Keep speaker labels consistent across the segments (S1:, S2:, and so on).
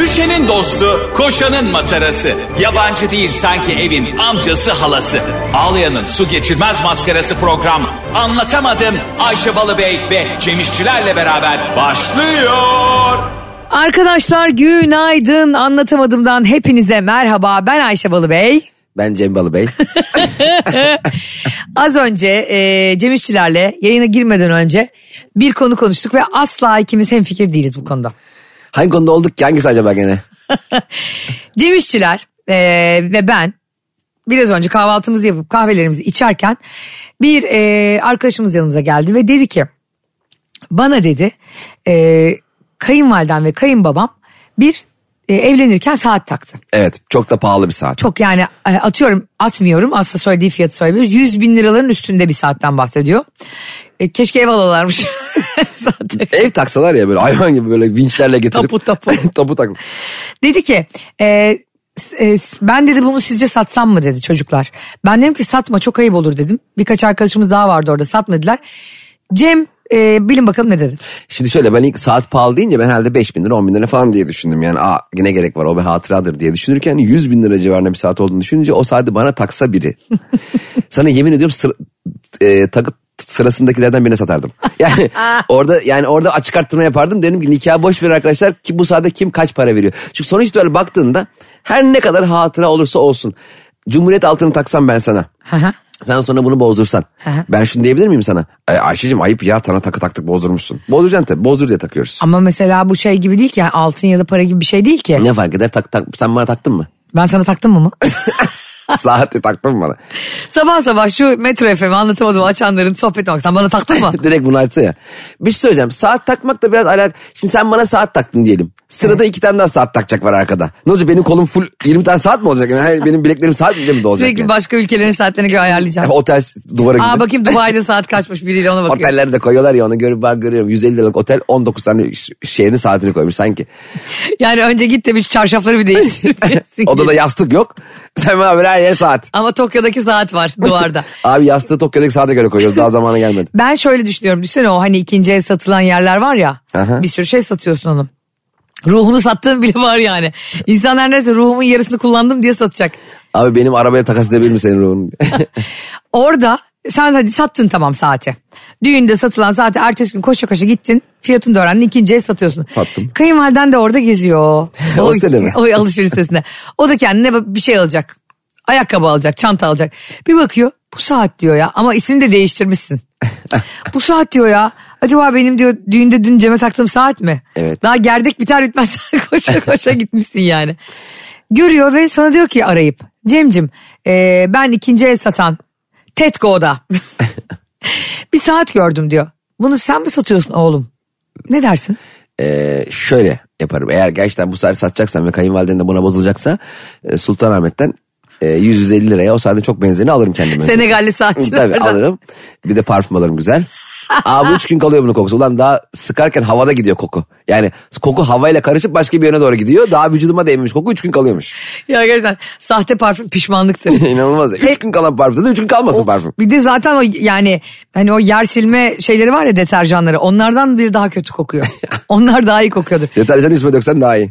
S1: Ayşe'nin dostu, koşanın matarası. Yabancı değil sanki evin amcası halası. Ağlayan'ın su geçirmez maskarası program. Anlatamadım Ayşe Balıbey ve Cemişçilerle beraber başlıyor.
S2: Arkadaşlar günaydın. Anlatamadımdan hepinize merhaba. Ben Ayşe Balıbey.
S3: Ben Cem Balıbey.
S2: Az önce e, Cem İşçilerle yayına girmeden önce bir konu konuştuk ve asla ikimiz hemfikir değiliz bu konuda.
S3: Hangi konuda olduk ki? Hangisi acaba gene?
S2: Cem İşçiler e, ve ben biraz önce kahvaltımızı yapıp kahvelerimizi içerken bir e, arkadaşımız yanımıza geldi ve dedi ki bana dedi e, kayınvalidem ve kayınbabam bir e, evlenirken saat taktı.
S3: Evet. Çok da pahalı bir saat.
S2: Çok yani e, atıyorum atmıyorum aslında söylediği fiyatı söylemiyoruz. 100 bin liraların üstünde bir saatten bahsediyor. E, keşke ev alalarmış zaten.
S3: Ev taksalar ya böyle hayvan gibi böyle vinçlerle getirip.
S2: Tapu, tapu.
S3: tapu tak.
S2: Dedi ki e, s- e, s- ben dedi bunu sizce satsam mı dedi çocuklar. Ben dedim ki satma çok ayıp olur dedim. Birkaç arkadaşımız daha vardı orada satmadılar. Cem e, bilin bakalım ne dedi.
S3: Şimdi şöyle ben ilk saat pahalı deyince ben herhalde 5 bin lira 10 bin lira falan diye düşündüm. Yani aa ne gerek var o bir hatıradır diye düşünürken 100 bin lira civarında bir saat olduğunu düşününce o saati bana taksa biri. Sana yemin ediyorum sıra, e, takı sırasındakilerden birine satardım. Yani orada yani orada açık arttırma yapardım. Dedim ki nikah boş ver arkadaşlar ki bu saate kim kaç para veriyor. Çünkü sonuç itibariyle baktığında her ne kadar hatıra olursa olsun. Cumhuriyet altını taksam ben sana.
S2: Hı hı.
S3: Sen sonra bunu bozdursan.
S2: hı.
S3: Ben şunu diyebilir miyim sana? E, Ayşe'cim ayıp ya sana takı taktık bozdurmuşsun. Bozduracaksın tabii bozdur diye takıyoruz.
S2: Ama mesela bu şey gibi değil ki yani altın ya da para gibi bir şey değil ki.
S3: Ne fark eder tak, tak sen bana taktın mı?
S2: Ben sana taktım mı mı?
S3: Saati taktın mı bana?
S2: sabah sabah şu Metro FM'i anlatamadım açanların sohbetine bak sen bana taktın mı?
S3: Direkt bunu açsa ya. Bir şey söyleyeceğim saat takmak da biraz alak. Şimdi sen bana saat taktın diyelim. Sırada iki tane daha saat takacak var arkada. Ne olacak benim kolum full 20 tane saat mi olacak? Yani hayır, benim bileklerim saat mi dolacak?
S2: Sürekli
S3: yani?
S2: başka ülkelerin saatlerine göre ayarlayacağım.
S3: Otel duvara gibi.
S2: Aa bakayım Dubai'de saat kaçmış biriyle ona bakıyorum.
S3: Otellerde koyuyorlar ya onu görüp var görüyorum. 150 liralık otel 19 tane ş- şehrin saatini koymuş sanki.
S2: Yani önce git de bir çarşafları bir değiştir. diyorsun ki.
S3: Odada yastık yok. Sen bana böyle her yere saat.
S2: Ama Tokyo'daki saat var duvarda.
S3: Abi yastığı Tokyo'daki saate göre koyuyoruz. Daha zamanı gelmedi.
S2: Ben şöyle düşünüyorum. Düşünsene o hani ikinci el satılan yerler var ya.
S3: Aha.
S2: Bir sürü şey satıyorsun onu. Ruhunu sattığın bile var yani. İnsanlar neredeyse ruhumun yarısını kullandım diye satacak.
S3: Abi benim arabaya takas edebilir mi senin ruhunu?
S2: Orada sen hadi sattın tamam saati. Düğünde satılan saati ertesi gün koşa koşa gittin. Fiyatını da öğrendin ikinci el satıyorsun.
S3: Sattım.
S2: Kayınvaliden de orada geziyor.
S3: O sitede mi?
S2: O alışveriş sitesinde. O da kendine bir şey alacak. Ayakkabı alacak, çanta alacak. Bir bakıyor bu saat diyor ya ama ismini de değiştirmişsin. bu saat diyor ya. Acaba benim diyor düğünde dün Cem'e taktığım saat mi?
S3: Evet.
S2: Daha gerdek biter bitmez koşa koşa gitmişsin yani. Görüyor ve sana diyor ki arayıp Cem'cim eee, ben ikinci el satan Tetco'da bir saat gördüm diyor. Bunu sen mi satıyorsun oğlum? Ne dersin?
S3: Ee, şöyle yaparım. Eğer gerçekten bu saati satacaksan ve kayınvaliden de buna bozulacaksa e, Sultanahmet'ten e, 100-150 liraya o saatin çok benzerini alırım kendime.
S2: Senegalli
S3: Tabii
S2: saatçilerden.
S3: alırım. Bir de parfüm alırım güzel. Abi üç gün kalıyor bunun kokusu. Ulan daha sıkarken havada gidiyor koku. Yani koku havayla karışıp başka bir yöne doğru gidiyor. Daha vücuduma değmemiş koku üç gün kalıyormuş.
S2: Ya gerçekten sahte parfüm pişmanlıktır.
S3: İnanılmaz. Üç gün kalan parfüm. Üç gün kalmasın parfüm.
S2: bir de zaten o yani hani o yer silme şeyleri var ya deterjanları onlardan bir daha kötü kokuyor. Onlar daha iyi kokuyordur.
S3: Deterjanı üstüme döksen daha iyi.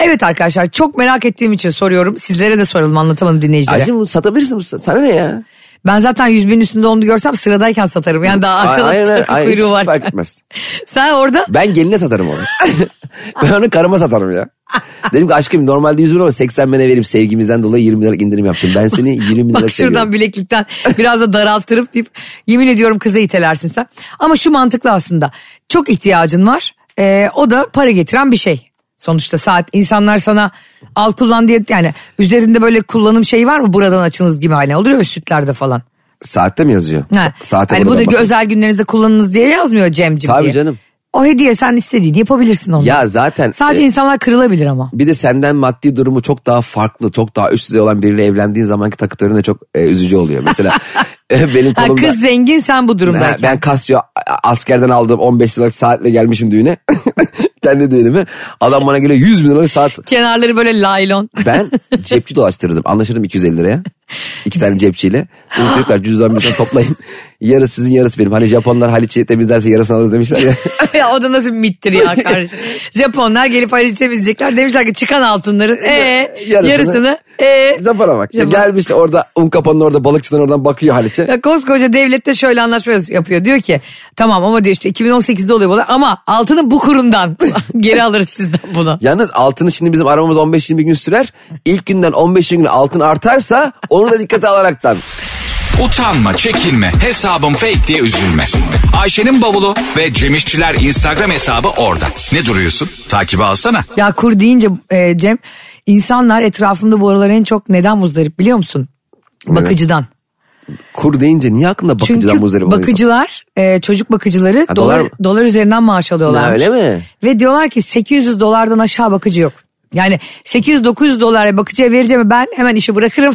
S2: evet arkadaşlar çok merak ettiğim için soruyorum. Sizlere de soralım anlatamadım dinleyicilere.
S3: Ayşe bunu satabilirsin. Sana ne ya?
S2: Ben zaten 100 binin üstünde onu görsem sıradayken satarım. Yani daha arkada
S3: Aynen,
S2: takı
S3: aynen,
S2: kuyruğu
S3: hiç
S2: var.
S3: Fark etmez.
S2: Sen orada
S3: Ben geline satarım onu. ben onu karıma satarım ya. Dedim ki aşkım normalde 100 bin ama 80 bine vereyim sevgimizden dolayı 20 lira indirim yaptım. Ben seni 20 bin lira
S2: bak
S3: seviyorum.
S2: şuradan bileklikten biraz da daraltırıp deyip yemin ediyorum kıza itelersin sen. Ama şu mantıklı aslında çok ihtiyacın var. Ee, o da para getiren bir şey. Sonuçta saat insanlar sana al kullan diye yani üzerinde böyle kullanım şeyi var mı buradan açınız gibi hani oluyor ya sütlerde falan.
S3: Saatte mi yazıyor?
S2: Ha.
S3: Sa- Saate
S2: hani bu da
S3: buradan bakın.
S2: özel günlerinizde kullanınız diye yazmıyor Cem'cim
S3: Tabii
S2: diye.
S3: canım.
S2: O hediye sen istediğini yapabilirsin onu.
S3: Ya zaten
S2: Sadece
S3: e,
S2: insanlar kırılabilir ama.
S3: bir de senden maddi durumu çok daha farklı, çok daha üst düzey olan biriyle evlendiğin zamanki takı töreni çok e, üzücü oluyor. Mesela e, benim
S2: Ha,
S3: kolumda...
S2: kız zengin sen bu
S3: Ha,
S2: durumdayken.
S3: ben Casio a- askerden aldığım 15 liralık saatle gelmişim düğüne. Kendi düğünüme. Adam bana geliyor 100 bin liralık saat
S2: Kenarları böyle laylon.
S3: Ben cepçi dolaştırırdım. Anlaşırdım 250 liraya. İki tane cepçiyle. Dedim, Çocuklar cüzdan bir tane toplayın. Yarısı sizin yarısı benim. Hani Japonlar Haliç'i temizlerse yarısını alırız demişler ya.
S2: ya o da nasıl bir mittir ya kardeşim. Japonlar gelip Haliç'i temizleyecekler. Demişler ki çıkan altınların ee, yarısını,
S3: Yarısını-
S2: ee.
S3: Japon'a bak. Ya
S2: Japon.
S3: gelmiş de orada un kapanın orada balıkçıdan oradan bakıyor Haliç'e.
S2: Ya koskoca devlette şöyle anlaşma yapıyor. Diyor ki tamam ama diyor işte 2018'de oluyor bunlar ama altının bu kurundan geri alırız sizden bunu.
S3: Yalnız altını şimdi bizim aramamız 15-20 gün sürer. İlk günden 15 gün altın artarsa onu da dikkate alaraktan.
S1: Utanma, çekinme, hesabım fake diye üzülme. Ayşe'nin bavulu ve Cemişçiler Instagram hesabı orada. Ne duruyorsun? Takibi alsana.
S2: Ya kur deyince e, Cem insanlar etrafımda bu aralar en çok neden muzdarip biliyor musun? Bakıcıdan.
S3: Kur deyince niye aklında bakıcıdan
S2: Çünkü
S3: muzdarip oluyor insan?
S2: bakıcılar e, çocuk bakıcıları
S3: Ha,
S2: dolar,
S3: dolar
S2: dolar,
S3: mı?
S2: üzerinden maaş alıyorlar.
S3: Ha, öyle mi?
S2: Ve diyorlar ki 800 dolardan aşağı bakıcı yok. Yani 800-900 dolara bakıcıya vereceğim ben hemen işi bırakırım.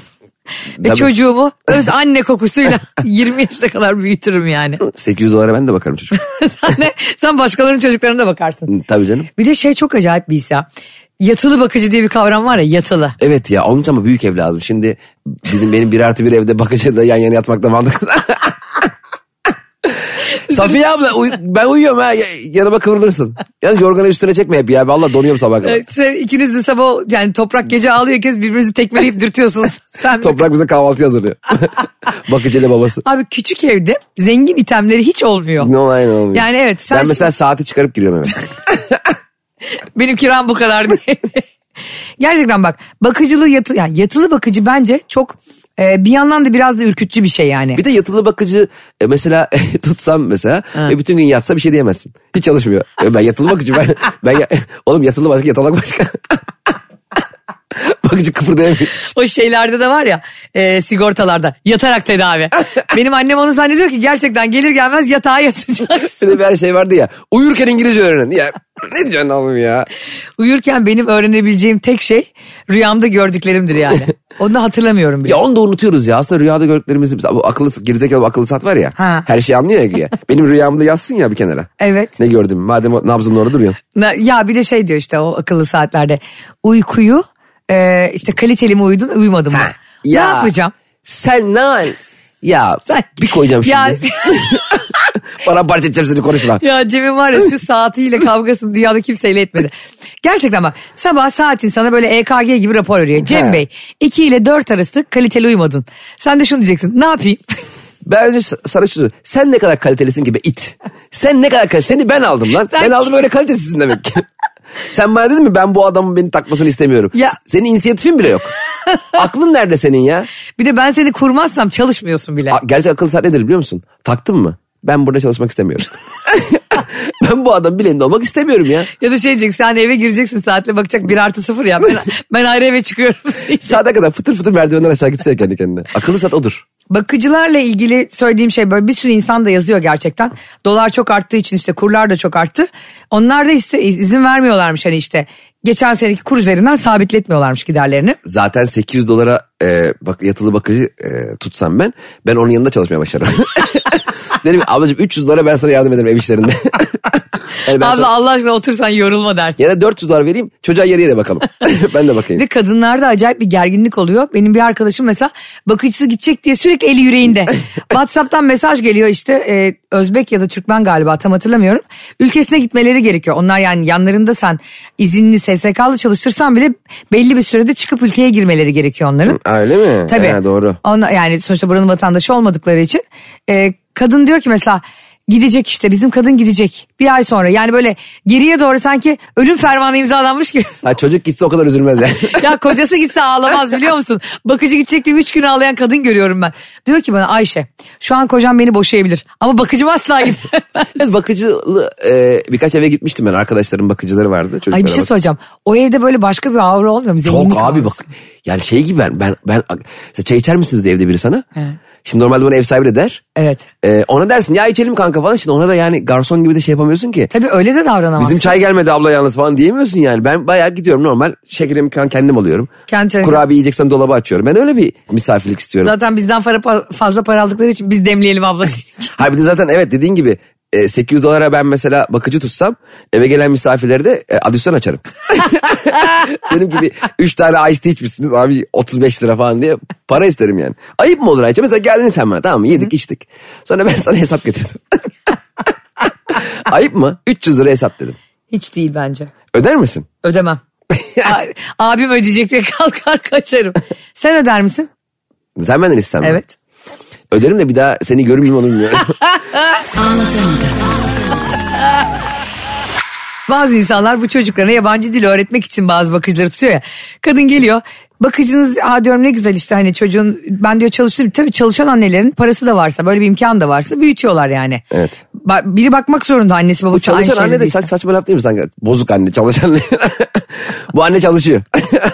S2: Ve
S3: Tabii.
S2: çocuğumu öz anne kokusuyla 20 yaşına kadar büyütürüm yani.
S3: 800 dolara ben de bakarım çocuk.
S2: sen, de- sen başkalarının çocuklarına da bakarsın.
S3: Tabii canım.
S2: Bir de şey çok acayip bir his ya. Yatılı bakıcı diye bir kavram var ya yatılı.
S3: Evet ya onun için ama büyük ev lazım. Şimdi bizim benim bir artı bir evde bakıcıyla yan yana yatmakta mantıklı. Safiye abla uy- ben uyuyorum ha ya- yanıma kıvrılırsın. Yalnız yorganı üstüne çekme hep ya. Vallahi donuyorum sabah kadar.
S2: Evet, şey, ikiniz de sabah yani toprak gece ağlıyor kez birbirinizi tekmeleyip dürtüyorsunuz. Sen
S3: Toprak bize kahvaltı hazırlıyor. Bakıcıyla babası.
S2: Abi küçük evde zengin itemleri hiç olmuyor.
S3: Ne olay ne olmuyor.
S2: Yani evet, sen
S3: ben mesela saati çıkarıp giriyorum eve.
S2: Benim kiram bu kadar diye. Gerçekten bak bakıcılığı yatı, yani yatılı bakıcı bence çok e, bir yandan da biraz da ürkütücü bir şey yani.
S3: Bir de yatılı bakıcı e, mesela tutsam mesela ve bütün gün yatsa bir şey diyemezsin. Hiç çalışmıyor. E, Ben yatılı bakıcı ben, ben ya- oğlum yatılı başka yatalak başka. bakıcı kıpırdayamıyor.
S2: O şeylerde de var ya e, sigortalarda yatarak tedavi. Benim annem onu zannediyor ki gerçekten gelir gelmez yatağa yatacaksın.
S3: Bir de bir her şey vardı ya. Uyurken İngilizce öğrenin. Ya ne diyeceksin oğlum ya?
S2: Uyurken benim öğrenebileceğim tek şey rüyamda gördüklerimdir yani. Onu da hatırlamıyorum bile.
S3: Ya onu da unutuyoruz ya. Aslında rüyada gördüklerimizi biz bu akıllı gerizekalı bu akıllı saat var ya.
S2: Ha.
S3: Her şeyi anlıyor ya güya. Benim rüyamda yazsın ya bir kenara.
S2: Evet.
S3: Ne gördüm? Madem o nabzımın orada duruyor.
S2: Na- Ya bir de şey diyor işte o akıllı saatlerde uykuyu e, işte kaliteli mi uyudun uyumadın mı?
S3: Ya.
S2: Ne yapacağım?
S3: Sen ne ya
S2: Sen-
S3: bir koyacağım şimdi.
S2: Ya-
S3: Bana parça edeceğim seni konuşma.
S2: Ya Cem'in var ya şu saatiyle kavgasını dünyada kimseyle etmedi. Gerçekten bak sabah saatin sana böyle EKG gibi rapor veriyor. Cem
S3: He.
S2: Bey 2 ile 4 arası kaliteli uyumadın. Sen de şunu diyeceksin ne yapayım?
S3: Ben önce sa- sana şunu Sen ne kadar kalitelisin ki be it. Sen ne kadar kaliteli. Seni ben aldım lan.
S2: Sen
S3: ben
S2: kim-
S3: aldım öyle kalitesizsin demek ki. Sen bana dedin mi ben bu adamın beni takmasını istemiyorum.
S2: Ya-
S3: S- Senin inisiyatifin bile yok. Aklın nerede senin ya?
S2: bir de ben seni kurmazsam çalışmıyorsun bile.
S3: A- Gerçek akıl saat nedir biliyor musun? Taktın mı? Ben burada çalışmak istemiyorum. ben bu adam bileğinde olmak istemiyorum ya.
S2: Ya da şey diyeceksin sen eve gireceksin saatle bakacak 1 artı 0 ya ben, ben ayrı eve çıkıyorum.
S3: Saate kadar fıtır fıtır merdivenden aşağı gitse ya kendi kendine. Akıllı saat odur.
S2: Bakıcılarla ilgili söylediğim şey böyle bir sürü insan da yazıyor gerçekten. Dolar çok arttığı için işte kurlar da çok arttı. Onlar da iste- izin vermiyorlarmış hani işte geçen seneki kur üzerinden sabitletmiyorlarmış giderlerini.
S3: zaten 800 dolara e, bak, yatılı bakıcı e, tutsam ben ben onun yanında çalışmaya başlarım. Derim ki, ablacığım 300 dolara ben sana yardım ederim ev işlerinde. Yani ben
S2: Abla
S3: sana-
S2: Allah aşkına otursan yorulma dersin.
S3: ya da 400 dolar vereyim çocuğa yarıya da bakalım. ben de bakayım.
S2: Ve kadınlarda acayip bir gerginlik oluyor. Benim bir arkadaşım mesela bakıcısı gidecek diye sürekli eli yüreğinde. WhatsApp'tan mesaj geliyor işte e, Özbek ya da Türkmen galiba tam hatırlamıyorum. Ülkesine gitmeleri gerekiyor. Onlar yani yanlarında sen izinli SSK'lı çalıştırsan bile belli bir sürede çıkıp ülkeye girmeleri gerekiyor onların.
S3: Öyle mi?
S2: Tabii.
S3: Ha, doğru.
S2: Ona, yani sonuçta buranın vatandaşı olmadıkları için. Ee, kadın diyor ki mesela gidecek işte bizim kadın gidecek bir ay sonra. Yani böyle geriye doğru sanki ölüm fermanı imzalanmış gibi.
S3: Ha, çocuk gitse o kadar üzülmez yani.
S2: ya kocası gitse ağlamaz biliyor musun? Bakıcı gidecek diye üç gün ağlayan kadın görüyorum ben. Diyor ki bana Ayşe şu an kocam beni boşayabilir ama bakıcım asla gider.
S3: Evet, bakıcılı e, birkaç eve gitmiştim ben arkadaşlarım bakıcıları vardı.
S2: Ay bir
S3: çocuklara
S2: şey
S3: bak-
S2: soracağım. O evde böyle başka bir aura olmuyor mu? Zenginlik
S3: Çok abi bak.
S2: aurası.
S3: Yani şey gibi ben ben, ben mesela çay içer misiniz diye evde biri sana? Şimdi normalde bana ev sahibi de der.
S2: Evet.
S3: Ee, ona dersin ya içelim kanka falan. Şimdi ona da yani garson gibi de şey yapamıyorsun ki.
S2: Tabii öyle de davranamaz.
S3: Bizim çay gelmedi abla yalnız falan diyemiyorsun yani. Ben bayağı gidiyorum normal şekerimi falan kendim alıyorum.
S2: Kendi çayını-
S3: Kurabiye yiyeceksen dolabı açıyorum. Ben öyle bir misafirlik istiyorum.
S2: Zaten bizden para- fazla para aldıkları için biz demleyelim abla seni.
S3: Hayır bir de zaten evet dediğin gibi e, 800 dolara ben mesela bakıcı tutsam eve gelen misafirleri de e, adisyon açarım. Benim gibi 3 tane ice tea içmişsiniz abi 35 lira falan diye para isterim yani. Ayıp mı olur Ayça? Mesela geldin sen bana tamam mı yedik içtik. Sonra ben sana hesap getirdim. Ayıp mı? 300 lira hesap dedim.
S2: Hiç değil bence.
S3: Öder misin?
S2: Ödemem. A- Abim ödeyecek diye kalkar kaçarım. Sen öder misin?
S3: Sen benden istenme.
S2: Evet.
S3: Öderim de bir daha seni görmeyeyim onu bilmiyorum.
S2: Bazı insanlar bu çocuklarına yabancı dil öğretmek için bazı bakıcıları tutuyor ya. Kadın geliyor. Bakıcınız ha diyorum ne güzel işte hani çocuğun ben diyor çalıştım. Tabii çalışan annelerin parası da varsa böyle bir imkan da varsa büyütüyorlar yani.
S3: Evet.
S2: Ba- biri bakmak zorunda annesi babası. aynı şey
S3: Çalışan
S2: şeyleri
S3: anne de
S2: değil.
S3: saç, saçma laf değil mi sanki? Bozuk anne çalışan anne. Bu anne çalışıyor.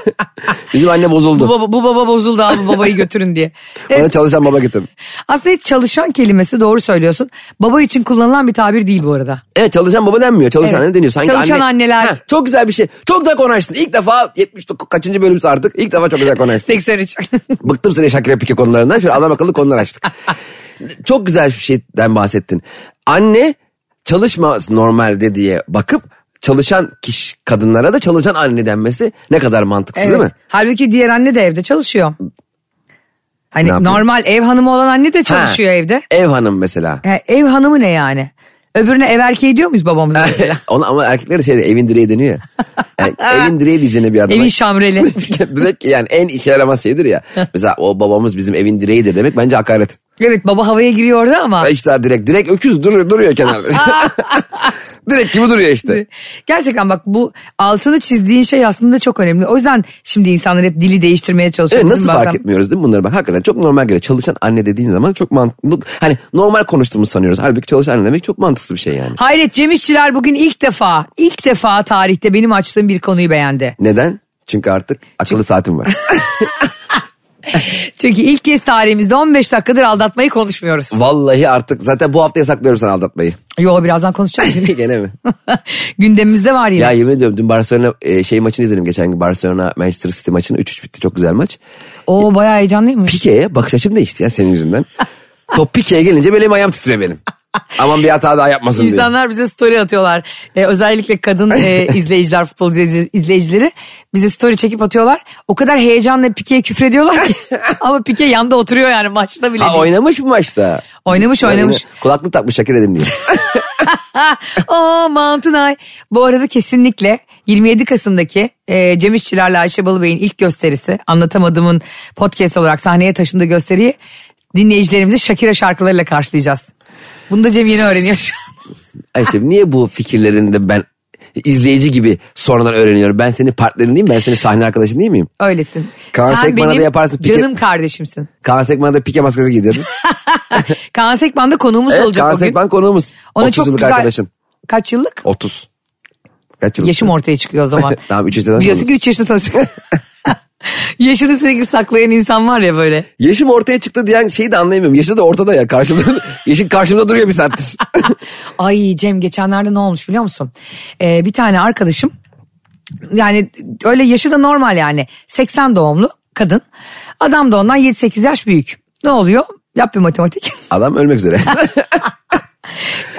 S3: Bizim anne
S2: Bu
S3: bozuldu.
S2: baba, bu baba bozuldu abi babayı götürün diye.
S3: Ona
S2: Evet,
S3: çalışan baba getirdim.
S2: aslında hiç çalışan kelimesi doğru söylüyorsun. Baba için kullanılan bir tabir değil bu arada.
S3: Evet çalışan baba denmiyor. Çalışan
S2: Evet.
S3: anne deniyor. Sanki
S2: Çalışan
S3: anne-
S2: anneler.
S3: Ha, çok güzel bir şey. Çok da konuştun. İlk defa 79 kaçıncı bölümse artık. İlk defa çok güzel konuştun.
S2: 83.
S3: Bıktım seni Şakir Pike konularından. Şöyle adam akıllı konular açtık. çok güzel bir şeyden bahsettin. Anne çalışmaz normalde diye bakıp çalışan kişi kadınlara da çalışan anne denmesi ne kadar mantıksız değil mi?
S2: Evet. Halbuki diğer anne de evde çalışıyor. Hani
S3: yapıyor?
S2: normal ev hanımı olan anne de
S3: Ha,
S2: çalışıyor evde.
S3: Ev hanım mesela.
S2: Ha, ev hanımı ne yani? Öbürüne ev erkeği diyor muyuz babamıza mesela?
S3: Ona, ama erkekler de şey diyor, evin direği deniyor ya. Yani evin direği diyeceğine bir adam.
S2: Evin şamreli.
S3: Direkt yani en işe yaramaz şeydir ya. Mesela o babamız bizim evin direğidir demek bence hakaret.
S2: evet baba havaya giriyor orada ama.
S3: İşte direkt direkt öküz duruyor, duruyor kenarda. direkt gibi duruyor işte.
S2: Gerçekten bak bu altını çizdiğin şey aslında çok önemli. O yüzden şimdi insanlar hep dili değiştirmeye çalışıyor.
S3: Evet, nasıl
S2: Bizim
S3: fark
S2: bazen-
S3: etmiyoruz değil mi bunları? Ben hakikaten çok normal geliyor. Çalışan anne dediğin zaman çok mantıklı. Hani normal konuştuğumuzu sanıyoruz. Halbuki çalışan anne demek çok mantıksız bir şey yani.
S2: Hayret Cem İşçiler bugün ilk defa, ilk defa tarihte benim açtığım bir konuyu beğendi.
S3: Neden? Çünkü artık akıllı saatim var.
S2: Çünkü ilk kez tarihimizde 15 dakikadır aldatmayı konuşmuyoruz.
S3: Vallahi artık zaten bu hafta yasaklıyorum sana aldatmayı.
S2: Yo birazdan konuşacağız.
S3: Gene mi?
S2: Gündemimizde var yine.
S3: Ya yemin ediyorum dün Barcelona e, şey maçını izledim geçen gün Barcelona Manchester City maçını 3-3 bitti çok güzel maç.
S2: Oo bayağı heyecanlıymış.
S3: Pique'ye bakış açım değişti ya senin yüzünden. Top Pique'ye gelince benim ayağım titriyor benim. Aman bir hata daha yapmasın diye.
S2: İnsanlar bize story atıyorlar. Ee, özellikle kadın e, izleyiciler, futbol izleyici- izleyicileri bize story çekip atıyorlar. O kadar heyecanla Pike'ye küfrediyorlar ki. Ama Pike yanda oturuyor yani maçta bile
S3: Ha
S2: değil.
S3: oynamış mı maçta?
S2: şey Oynamış
S3: Ben
S2: oynamış.
S3: yine Kulaklık takmış şakir edin diye.
S2: Aa Mountain High. Bu arada kesinlikle 27 Kasım'daki e, Cem İşçilerle Ayşe Balıbey'in ilk gösterisi Anlatamadığımın podcast olarak sahneye taşındığı gösteriyi dinleyicilerimizi Shakira şarkılarıyla karşılayacağız. Bunu da Cem yeni öğreniyor şu an.
S3: Ayşe niye bu fikirlerini de ben izleyici gibi sonradan öğreniyorum. Ben senin partnerin değil miyim? Ben senin sahne arkadaşın değil miyim?
S2: Öylesin.
S3: Kaan
S2: Sen
S3: Sekman'a da
S2: benim
S3: yaparsın, Pike-
S2: canım kardeşimsin.
S3: Kaan Sekman'a da Pike maskesi giydiriz.
S2: Kaan Sekman da konuğumuz
S3: evet,
S2: olacak
S3: Kaan
S2: o gün.
S3: Sekman konuğumuz.
S2: Ona
S3: 30
S2: çok
S3: yıllık
S2: güzel...
S3: arkadaşın.
S2: Kaç yıllık?
S3: 30. Kaç yıllık?
S2: Yaşım ortaya çıkıyor o zaman.
S3: Tamam 3 yaşında.
S2: Biliyorsun ki 3 yaşında tanıştık. Yaşını sürekli saklayan insan var ya böyle.
S3: Yaşım ortaya çıktı diyen şeyi de anlayamıyorum. Yaşı da ortada ya karşımda. Yaşın karşımda duruyor bir saattir.
S2: Ay Cem geçenlerde ne olmuş biliyor musun? Ee, bir tane arkadaşım yani öyle yaşı da normal yani 80 doğumlu kadın. Adam da ondan 7-8 yaş büyük. Ne oluyor? Yap bir matematik.
S3: Adam ölmek üzere.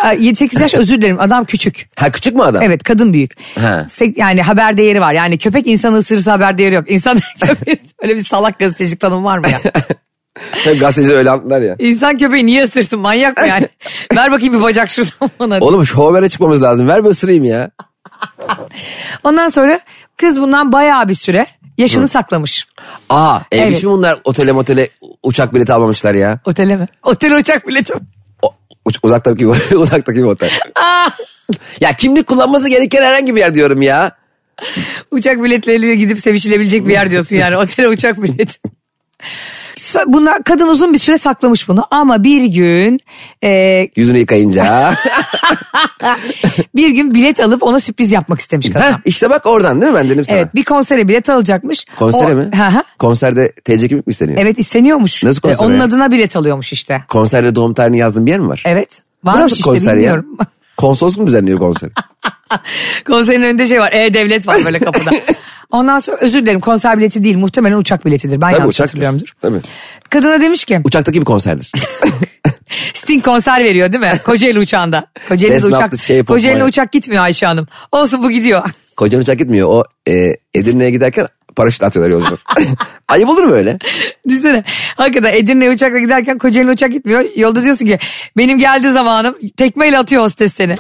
S2: Ay, 7-8 yaş özür dilerim adam küçük.
S3: ha küçük mü adam?
S2: Evet kadın büyük.
S3: Ha.
S2: Sek- yani haber değeri var. Yani köpek insanı ısırırsa haber değeri yok. İnsan köpeği öyle bir salak gazetecilik tanımı var mı ya?
S3: Hep gazeteciler öyle anlattılar ya.
S2: İnsan köpeği niye ısırsın manyak mı yani? Ver bakayım bir bacak şuradan bana.
S3: Oğlum şu habere çıkmamız lazım. Ver bir ısırayım ya.
S2: Ondan sonra kız bundan bayağı bir süre yaşını saklamış.
S3: Aa evmiş
S2: Evet.
S3: mi bunlar otele motele uçak bileti almamışlar ya.
S2: Otele mi? Otel uçak bileti mi?
S3: O, uç- uzaktaki bir, uzaktaki bir otel.
S2: Aa,
S3: ya kimlik kullanması gereken herhangi bir yer diyorum ya.
S2: uçak biletleriyle gidip sevişilebilecek bir yer diyorsun yani. Otele uçak bileti. So- Bunlar, kadın uzun bir süre saklamış bunu ama bir gün e,
S3: Yüzünü yıkayınca.
S2: bir gün bilet alıp ona sürpriz yapmak istemiş kadın.
S3: Heh, işte bak oradan değil mi ben dedim sana.
S2: Evet bir konsere bilet alacakmış.
S3: Konsere
S2: O-
S3: mi?
S2: Hı hı.
S3: Konserde TC kimlik mi isteniyor?
S2: evet isteniyormuş.
S3: Nasıl konser
S2: Ee, Onun
S3: ya?
S2: adına bilet alıyormuş işte.
S3: Konserde doğum tarihini yazdığın bir yer mi var?
S2: Evet.
S3: Bu
S2: Varmış
S3: nasıl
S2: işte
S3: konser ya?
S2: bilmiyorum.
S3: Konsolos mu düzenliyor konseri?
S2: Konserin önünde şey var. E-Devlet var böyle kapıda. Ondan sonra özür dilerim konser bileti değil muhtemelen uçak biletidir. Ben yanlış
S3: uçaktır.
S2: hatırlıyorumdur.
S3: Tabii.
S2: Kadına demiş ki
S3: Uçaktaki bir konserdir.
S2: Sting konser veriyor değil mi? Kocaeli uçağında. Kocaeli'de
S3: Desnaplı
S2: uçak,
S3: şey yapıp
S2: Kocaeli'de
S3: bayağı.
S2: uçak gitmiyor Ayşe Hanım. Olsun bu gidiyor.
S3: Kocan uçak gitmiyor. O e, Edirne'ye giderken paraşüt atıyorlar yolcu. Ayıp olur mu öyle?
S2: Düşünsene. Hakikaten Edirne'ye uçakla giderken Kocaeli'ne uçak gitmiyor. Yolda diyorsun ki benim geldi zamanım tekmeyle atıyor hostes seni.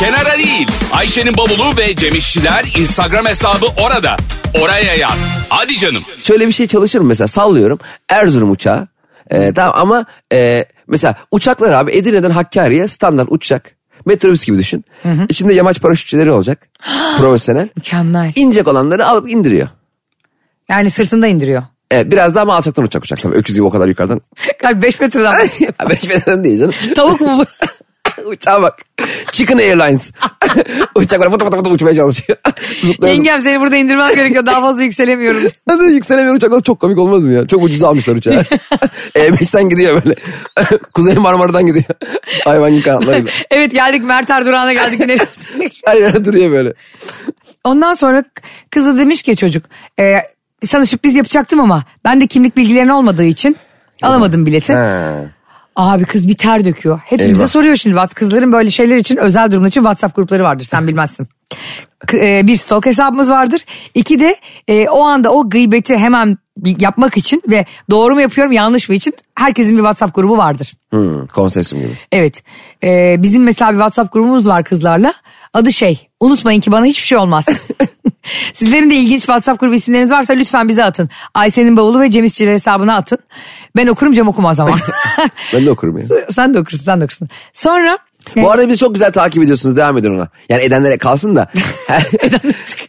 S1: Kenara değil. Ayşe'nin bavulu ve Cem İşçiler Instagram hesabı orada. Oraya yaz. Hadi canım.
S3: Şöyle bir şey çalışır mı mesela sallıyorum Erzurum uçağı. E, tamam ama e, mesela uçaklar abi Edirne'den Hakkari'ye standart uçacak. Metrobüs gibi düşün. İçinde yamaç paraşütçüleri olacak. profesyonel.
S2: Mükemmel.
S3: İnecek olanları alıp indiriyor.
S2: Yani sırtında indiriyor.
S3: E, biraz daha ama alçaktan uçacak uçak tabii. Öküz gibi o kadar yukarıdan.
S2: Kalp 5 metreden.
S3: Beş metreden değil canım.
S2: Tavuk mu bu?
S3: Uçağa bak. Chicken Airlines. Uçak böyle fıtı fıtı fıtı uçmaya çalışıyor. Zıplıyor,
S2: Yengem seni burada indirmem gerekiyor daha fazla yükselemiyorum.
S3: Hadi yükselemeyen uçaklar çok komik olmaz mı ya? Çok ucuza almışlar uçağı. E5'ten gidiyor böyle. Kuzey Marmara'dan gidiyor. Hayvan gibi kanatlarıyla.
S2: evet geldik Mert Erdoğan'a geldik. yine.
S3: Her yere duruyor böyle.
S2: Ondan sonra kızı demiş ki çocuk e, sana sürpriz yapacaktım ama ben de kimlik bilgilerin olmadığı için alamadım bileti. Abi kız bir ter döküyor. Hepimize
S3: Eyvah.
S2: soruyor şimdi Whats kızların böyle şeyler için özel durumlar için WhatsApp grupları vardır sen bilmezsin. K- e, bir stalk hesabımız vardır. İki de e, o anda o gıybeti hemen bi- yapmak için ve doğru mu yapıyorum yanlış mı için herkesin bir WhatsApp grubu vardır.
S3: Hmm, konsensüm gibi.
S2: Evet E, bizim mesela bir WhatsApp grubumuz var kızlarla adı şey unutmayın ki bana hiçbir şey olmaz. Sizlerin de ilginç WhatsApp grubu isimleriniz varsa lütfen bize atın. Ayşe'nin bavulu ve Cem İşçiler hesabına atın. Ben okurum Cem okumaz ama.
S3: Ben de okurum yani.
S2: sen de okursun sen de okursun. Sonra e,
S3: Bu arada bizi çok güzel takip ediyorsunuz. Devam edin ona. Yani edenlere kalsın da.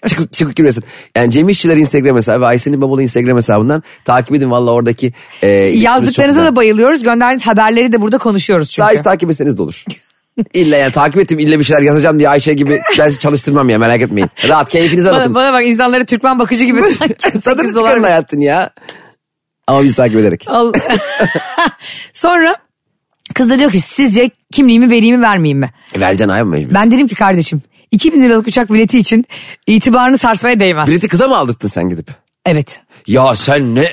S3: çıkıp çıkıp girmesin. Yani Cem İşçiler Instagram hesabı ve Aysen'in Babalı Instagram hesabından takip edin. Valla oradaki e, iletişimimiz çok
S2: yazdıklarınıza
S3: güzel.
S2: da bayılıyoruz. Gönderdiğiniz haberleri de burada konuşuyoruz çünkü.
S3: Sadece takip etseniz de olur. İlla yani takip ettim illa bir şeyler yazacağım diye Ayşe gibi ben sizi çalıştırmam ya merak etmeyin. Rahat keyfinize
S2: bana,
S3: bakın.
S2: bana bak insanları Türkmen bakıcı gibi sanki.
S3: Zaten
S2: Sekiz dolar
S3: çıkarın
S2: mı?
S3: hayatın ya. Ama biz takip ederek.
S2: Al- Sonra kız da diyor ki sizce kimliğimi vereyim mi vermeyeyim mi?
S3: E, Vereceksin abi mecbur.
S2: Ben dedim ki kardeşim 2000 liralık uçak bileti için itibarını sarsmaya değmez.
S3: Bileti kıza mı aldırttın sen gidip?
S2: Evet.
S3: Ya sen ne?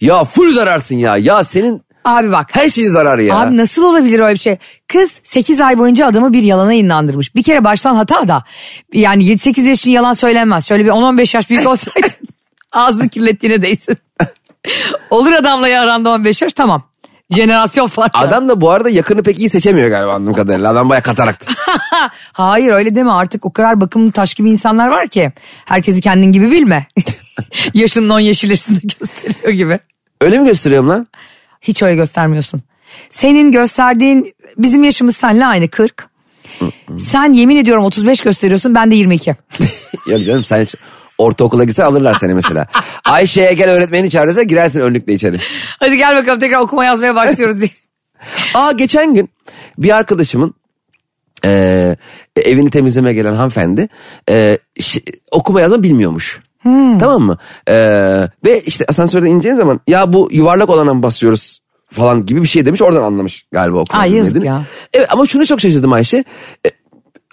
S3: Ya full zararsın ya. Ya senin
S2: Abi bak.
S3: her şeyin zararı ya.
S2: Abi nasıl olabilir öyle bir şey? Kız 8 ay boyunca adamı bir yalana inandırmış. Bir kere baştan hata da. Yani 7-8 yaşın yalan söylenmez. Şöyle bir 10-15 yaş büyük olsaydı ağzını kirlettiğine değsin. Olur adamla ya aranda 15 yaş tamam. Jenerasyon farkı.
S3: Adam da bu arada yakını pek iyi seçemiyor galiba anladığım kadarıyla. Adam baya kataraktı.
S2: Hayır öyle deme artık o kadar bakımlı taş gibi insanlar var ki. Herkesi kendin gibi bilme. Yaşının 10 yeşilirsin gösteriyor gibi.
S3: Öyle mi gösteriyorum lan?
S2: Hiç öyle göstermiyorsun. Senin gösterdiğin bizim yaşımız senle aynı 40. Sen yemin ediyorum 35 gösteriyorsun ben de 22.
S3: Yok canım sen hiç- ortaokula gitsen alırlar seni mesela. Ayşe'ye gel öğretmeni çağırırsa girersin önlükle içeri.
S2: Hadi gel bakalım tekrar okuma yazmaya başlıyoruz diye.
S3: Aa geçen gün bir arkadaşımın eee, evini temizleme gelen hanımefendi eee, şi- okuma yazma bilmiyormuş.
S2: Hmm.
S3: Tamam mı? Eee, ve işte asansörden ineceğin zaman ya bu yuvarlak olana mı basıyoruz falan gibi bir şey demiş oradan anlamış galiba okuma
S2: Ay,
S3: yazma
S2: yazık
S3: dediğini.
S2: ya.
S3: Evet, ama şunu çok şaşırdım Ayşe. E,